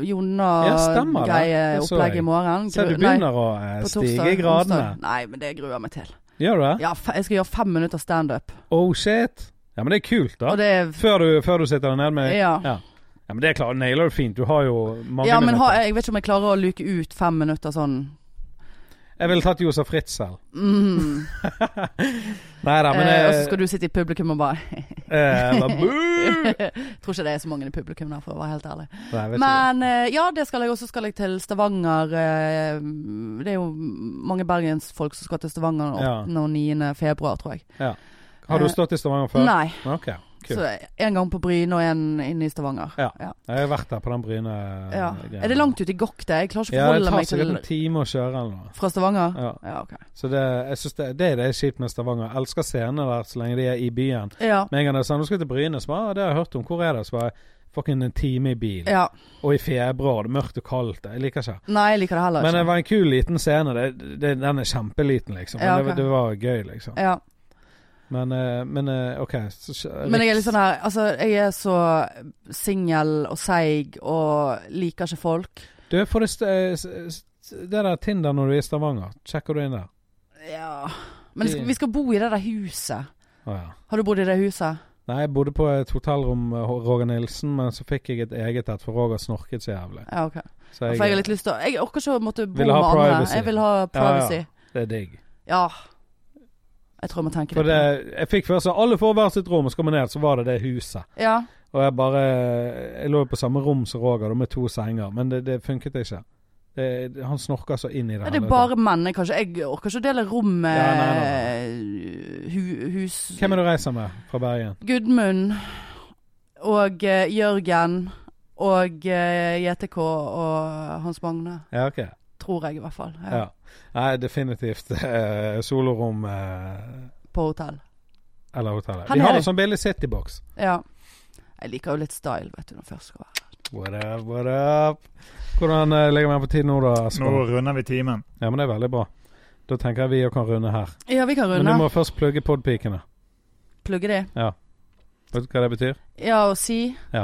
S1: Ja, stemmer det. Det så jeg.
S2: Jonna-greie-opplegget i morgen.
S1: Se, du
S2: Gru- nei,
S1: begynner å eh,
S2: på
S1: stige
S2: torsdag,
S1: i gradene.
S2: onsdag. Nei, men det gruer jeg meg til.
S1: Gjør du det?
S2: Ja, fe- jeg skal gjøre fem minutter standup.
S1: Oh shit. Ja, men det er kult, da.
S2: Og det er
S1: Før, du, før du sitter deg ned med
S2: Ja.
S1: Ja, men det er klart, nailer du fint. Du har jo mange
S2: ja men
S1: minutter.
S2: ha, jeg vet ikke om jeg klarer å luke ut fem minutter sånn.
S1: Jeg ville tatt Josef Ritzel.
S2: Mm.
S1: Nei da, men
S2: eh, og
S1: eh,
S2: så skal du sitte i publikum og bare
S1: eh, la- Buh!
S2: Tror ikke det er så mange i publikum der, for å være helt ærlig.
S1: Nei, jeg vet ikke.
S2: Men eh, ja, det skal jeg. Og så skal jeg til Stavanger. eh, Det er jo mange bergensfolk som skal til Stavanger den
S1: Ja.
S2: 8. og 9. februar, tror jeg.
S1: Har du
S2: eh,
S1: stått i Stavanger før?
S2: Nei.
S1: Ok. Kult.
S2: Så en gang på Bryne og en inne i Stavanger.
S1: Ja. Jeg har vært der på den Bryne-greia.
S2: Ja. Er det langt ute i Gokk, det? Jeg klarer ikke
S1: Ja,
S2: å
S1: det
S2: forholde
S1: tar
S2: meg
S1: sikkert en
S2: til
S1: time å kjøre eller noe.
S2: Fra Stavanger?
S1: Ja.
S2: Ja, ok.
S1: Så det, jeg synes det, det er det er kjipt med Stavanger. Jeg elsker scenene der så lenge de er i byen.
S2: Ja.
S1: Med en gang det er sånn, nå skal jeg til Bryne, så bare, «Ah, det har jeg hørt om. Hvor er det? Så bare, fucking en time i bil.
S2: ja.
S1: Og i februar, det er mørkt og kaldt. Jeg liker ikke.
S2: Nei, jeg liker det heller
S1: Men eh,
S2: ikke.
S1: det var en kul liten scene. Det, det, den er kjempeliten, liksom. Men
S2: Ja, ok.
S1: det, det var gøy, liksom.
S2: ja.
S1: Men, eh, men eh, OK. Så, så-
S2: Men jeg er litt sånn her Altså, jeg er så singel og seig og liker ikke folk.
S1: Du, for det, st- eh, s- s- det der Tinder når du er i Stavanger, sjekker du inn der?
S2: Ja Men det skal, vi skal bo i det der huset.
S1: Å ja.
S2: Har du bodd i det huset?
S1: Nei, jeg bodde på et hotellrom med H- Roger Nilsen, men så fikk jeg et eget et, for Roger snorket så jævlig.
S2: Ja, ok.
S1: Så
S2: For jeg har litt lyst til å Jeg orker ikke å måtte bo
S1: Vil
S2: med
S1: ha
S2: andre.
S1: privacy.
S2: Jeg vil ha privacy.
S1: Det er digg.
S2: Ja. Jeg tror jeg må tenke
S1: For
S2: litt på
S1: det,
S2: det.
S1: jeg fikk først så alle får hvert sitt rom, og så kom jeg ned, så var det det huset.
S2: Ja.
S1: Og jeg bare Jeg lå jo på samme rom som Roger, da, med to senger, men det, det funket ikke. Det, det- han snorker så inn i det.
S2: Ja, det er
S1: hele tatt.
S2: bare menn. Jeg, kan ikke- jeg orker ikke å dele rom med
S1: Ja, nei,
S2: hu, hus
S1: Hvem er du reiser med fra Bergen?
S2: Gudmund og eh, Jørgen og eh, JTK og Hans Magne.
S1: Ja, ok.
S2: Tror jeg, i hvert fall. Ja.
S1: Ja. Nei, definitivt eh, solorom eh,
S2: På hotell.
S1: eller hotellet.
S2: Han
S1: Vi
S2: er
S1: har
S2: det.
S1: en sånn billig citybox.
S2: Ja. Jeg liker jo litt style, vet du, når jeg først skal være
S1: What up, what up? Hvordan eh, ligger vi på tid nå, da?
S4: Nå
S1: Skål?
S4: runder vi timen.
S1: Ja, men det er veldig bra. Da tenker jeg vi òg kan runde her.
S2: Ja, vi kan
S1: Men du
S2: runde.
S1: må først plugge podpikene.
S2: Plugge de.
S1: Vet du hva det betyr?
S2: Ja, og si
S1: Du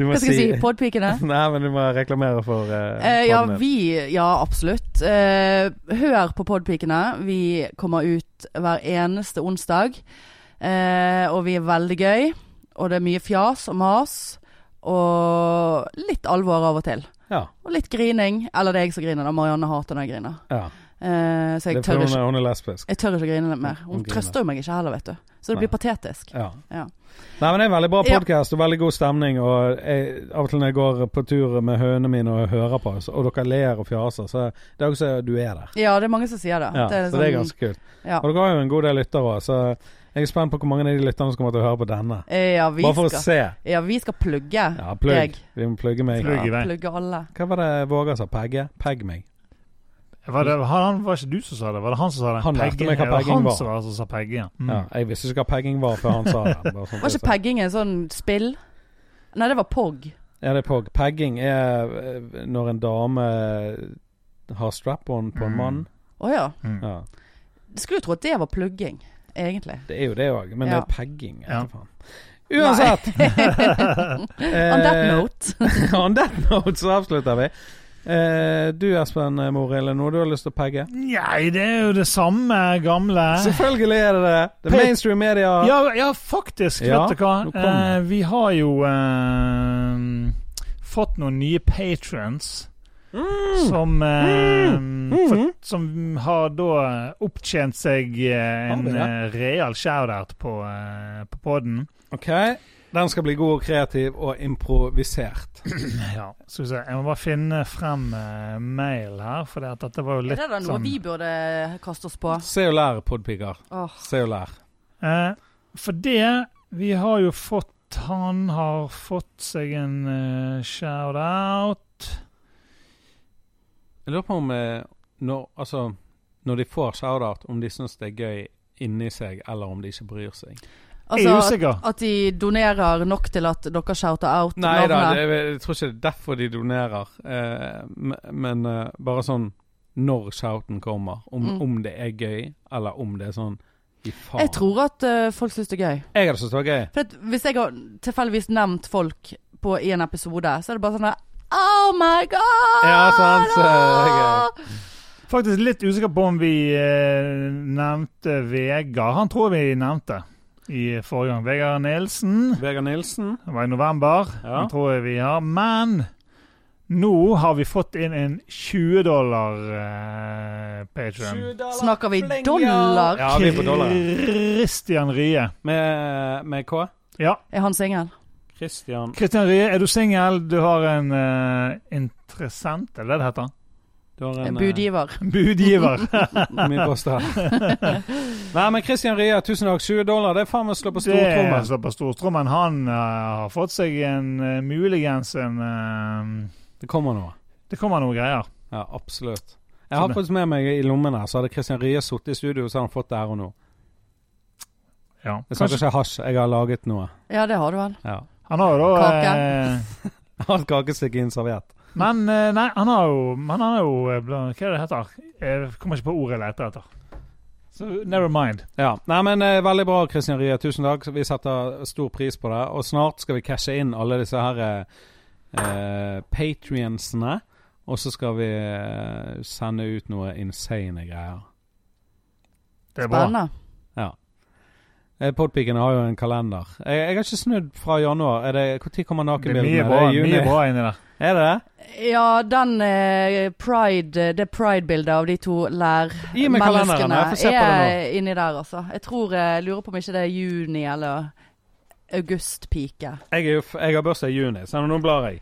S1: må
S2: Hva skal jeg si? Podpikene?
S1: Nei, men du må reklamere for eh,
S2: Eh, ja,
S1: podden din.
S2: vi, ja, absolutt. Eh, hør på Podpikene. Vi kommer ut hver eneste onsdag. Eh, og vi er veldig gøy. Og det er mye fjas og mas. Og litt alvor av og til.
S1: Ja.
S2: Og litt grining. Eller det er jeg som griner, da. Marianne hater når jeg griner.
S1: ja.
S2: Eh, så
S1: Det
S2: jeg
S1: er fordi
S2: tør,
S1: hun
S2: ikke,
S1: er, hun er lesbisk.
S2: jeg tør ikke å grine mer.
S1: Hun
S2: Hun
S1: griner.
S2: trøster jo meg ikke heller, vet du. Så det blir
S1: Nei.
S2: patetisk.
S1: Ja.
S2: Ja.
S1: Nei, men det er en veldig bra
S2: Ja.
S1: podkast og veldig god stemning. Og jeg, av og til når jeg går på tur med hønene mine og hører på, så- og dere ler og fjaser, så det er også du er der.
S2: Ja, det er mange som sier det.
S1: Ja, så det
S2: litt
S1: er
S2: sånn-
S1: ganske kult.
S2: ja.
S1: Og dere har jo en god del lyttere òg, så jeg er spent på hvor mange av de lytterne som kommer til å høre på denne.
S2: Eh, ja, vi
S1: Bare for å
S2: skal,
S1: se.
S2: ja, vi skal plugge.
S1: Ja,
S2: Jeg.
S1: plugg. Vi må plugge meg.
S4: Plugg i vei.
S2: Plugge alle.
S1: Hva var det Våga sa? Pegge? Pegg meg.
S4: Var det han, var ikke du som sa det? Var det han som sa det?
S1: Han lærte
S4: Pegging-
S1: meg hva
S4: er det
S1: pegging
S4: han
S1: var.
S4: som var som sa pegging, ja. Mm.
S1: Ja, jeg visste ikke hva pegging var før han sa det. Bare sånn
S2: Var
S1: at
S2: ikke
S1: jeg sa-
S2: pegging en sånn spill? Nei, det var POG.
S1: Ja, det er pog. Pegging er eh, når en dame eh, har strap-on på en
S4: Mm.
S1: mann.
S2: Å ja.
S4: Mm.
S1: Ja,
S2: Du skulle jo tro at det var plugging, egentlig.
S1: det er jo det òg, men det
S2: Ja.
S1: er pegging. Ja.
S4: Ja.
S1: faen. Uansett! eh,
S2: On that note.
S1: on that note så avslutter vi. Eh, du Espen eh, Morild, er det noe du har lyst til å pegge?
S4: Nei, det er jo det samme gamle.
S1: Selvfølgelig er det det! Det er
S4: Pe-
S1: mainstream media.
S4: Ja, ja faktisk.
S1: Ja,
S4: vet du hva?
S1: nå kom det.
S4: Eh, vi har jo eh, fått noen nye patrons.
S1: Mm.
S4: Som, eh, For, som har da opptjent seg eh,
S1: Har
S4: en
S1: vi det?
S4: eh, real shout-out på, eh, på poden.
S1: OK. Den skal bli god og kreativ og improvisert.
S4: Ja, skal vi se. Jeg må bare finne frem eh, mail her, for det at dette var jo
S2: Er
S4: litt
S2: det da noe
S4: sånn
S2: vi burde kaste oss på?
S1: Se og lær, podpigger.
S2: Åh.
S1: Se og lær.
S4: Eh, For det Vi har jo fått Han har fått seg en eh, shout-out.
S1: Jeg lurer på om eh, når, altså, når de får shout-out, om de syns det er gøy inni seg, eller om de ikke bryr seg.
S4: jeg er
S2: Altså, at,
S4: usikker.
S2: at de donerer nok til at dere shouter out
S1: Nei da,
S2: navnet.
S1: jeg, jeg tror ikke det er derfor de donerer. Eh, m- men eh, bare sånn når shouten kommer. Om,
S2: Mm.
S1: om det er gøy, eller om det er sånn i faen.
S2: Jeg tror at eh, folk syns det er gøy.
S1: Jeg hadde syntes det var gøy.
S2: For at hvis jeg har tilfeldigvis nevnt folk på, i en episode, så er det bare sånn der Oh my god!
S1: Ja, sant, så det
S4: Faktisk litt usikker på om vi eh, nevnte Vegard. Han tror vi nevnte i forrige gang. Vegard Nilsen.
S1: Vegard Nilsen.
S4: Det var i november.
S1: Ja.
S4: Den tror jeg vi har. Men nå har vi fått inn en 20 dollar eh, patron.
S2: Snakker vi dollar?
S1: Ja, vi er på dollar. ja.
S4: Christian Rie.
S1: Med, med K?
S4: Ja.
S2: Er han singel?
S1: Christian
S4: Christian Rie, er du singel? Du har en eh, interessent, er det det det heter?
S1: Du har en eh,
S2: Budgiver.
S4: Budgiver.
S1: Mye post her. Nei, men Christian Ria, tusen takk. 20 dollar, det er faen meg å slå på
S4: Det er
S1: stortrommen.
S4: altså- så på stortrommen. Han eh, har fått seg en eh, muligens en eh,
S1: Det kommer noe.
S4: Det kommer noen greier.
S1: Ja, absolutt. Jeg
S4: Sånn,
S1: har fått med meg i lommen her, så hadde Christian Rie sittet i studio, så hadde han fått det her og nå.
S4: Ja.
S1: Jeg snakker ikke hasj, jeg har laget noe.
S2: Ja, det har du vel.
S1: Ja.
S4: Han har jo da
S2: Kake.
S4: eh,
S1: Jeg har et kakestykke i en serviett.
S4: Men eh, nei, han har jo, han har jo eh, bla- Hva er det heter? Jeg kommer ikke på ordet jeg leter etter. Så never mind.
S1: Ja. Nei, men eh, veldig bra, Christian Rie. Tusen takk. Vi setter stor pris på det. Og snart skal vi cashe inn alle disse her eh, eh, patriensene. Og så skal vi eh, sende ut noe insane greier.
S4: Det er bra.
S2: Spennende.
S1: Eh, Podpikene har jo en kalender. Jeg, jeg har ikke snudd fra januar. Er det, hvor tid kommer
S4: Det er mye
S1: nakenbildene?
S4: bra,
S1: er i juni.
S4: mye bra inni der.
S1: Er det det?
S2: Ja, den eh, pride, det pride-bildet av de to lærmenneskene
S1: Gi meg kalenderen, jeg får se på det nå.
S2: er inni der, altså. Jeg tror, eh, lurer på om ikke det er juni eller august-pike.
S1: Jeg, er jo, f- jeg har bursdag i juni, så nå blar jeg.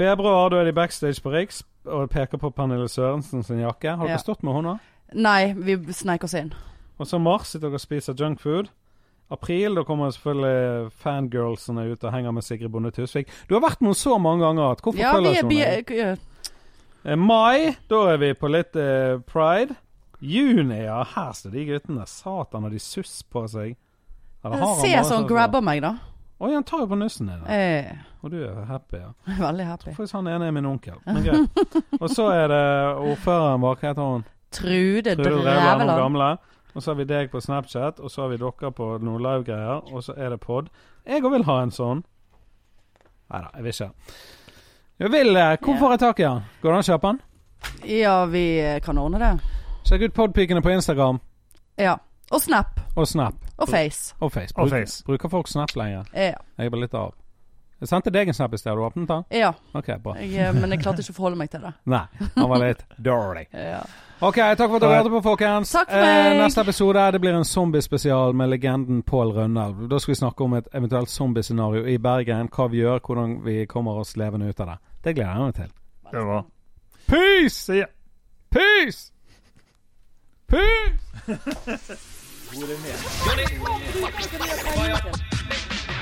S1: Februar, da er de backstage på Riks og peker på Pernille Sørensen sin jakke. Har dere
S2: Ja.
S1: stått med henne?
S2: Nei, vi sneik oss inn.
S1: Og så mars sitter dere og spiser junkfood. april. Da kommer selvfølgelig fangirlsene ut og henger med Sigrid Bonde Tusvik. Du har vært med henne så mange ganger at hvorfor
S2: Ja, vi
S1: følger sånn? ikke
S2: er
S1: hun
S2: bi... eh,
S1: deg?
S2: k- ja.
S1: Eh, Mai, da er vi på litt eh, pride. Juni, ja. Her står de guttene. Satan, har de suss på seg? Eller har han
S2: Se
S1: bare
S2: sånn grabber Eh. meg, da.
S1: Oi, han tar jo på nussen din. da.
S2: Jeg
S1: Og du er happy, ja.
S2: er veldig happy.
S1: Faktisk han ene er min onkel. Men greit. Og så er det ordføreren bak, hva heter hun?
S2: Trude
S1: Trude Drevland, hun
S2: Drevland.
S1: gamle. Og så har vi deg på Snapchat, og så har vi dere på noen live-greier, og så er det pod. Jeg òg vil ha en sånn. Nei da, jeg vil ikke. Jeg vil eh, det. Hvor får jeg tak i den? Går det an å kjøpe den?
S2: Ja, vi eh, kan ordne det.
S1: Sjekk ut podpikene på Instagram
S2: Ja. Og Snap.
S1: og Snap
S2: Og Face.
S1: og Face.
S4: Og
S1: Bruk-
S4: Face.
S1: Bruker folk Snap lenger?
S2: Ja.
S1: Jeg er bare litt av. Jeg sendte deg en Snap i sted. Har du åpnet den?
S2: ja.
S1: OK, bra.
S2: Jeg, eh, men jeg klarte ikke å forholde meg til det.
S1: Nei, han var litt dirty.
S2: Ja.
S1: OK, takk for at dere hørte på, folkens. Eh,
S2: Takk for meg.
S1: neste episode det blir en zombiespesial med legenden Pål Rønnelv. Da skal vi snakke om et eventuelt zombiescenario i Bergen. Hva vi gjør, hvordan vi kommer oss levende ut av det. Det gleder jeg meg til.
S4: Det var
S1: Peace!
S4: Så ja.
S1: Peace! Peace!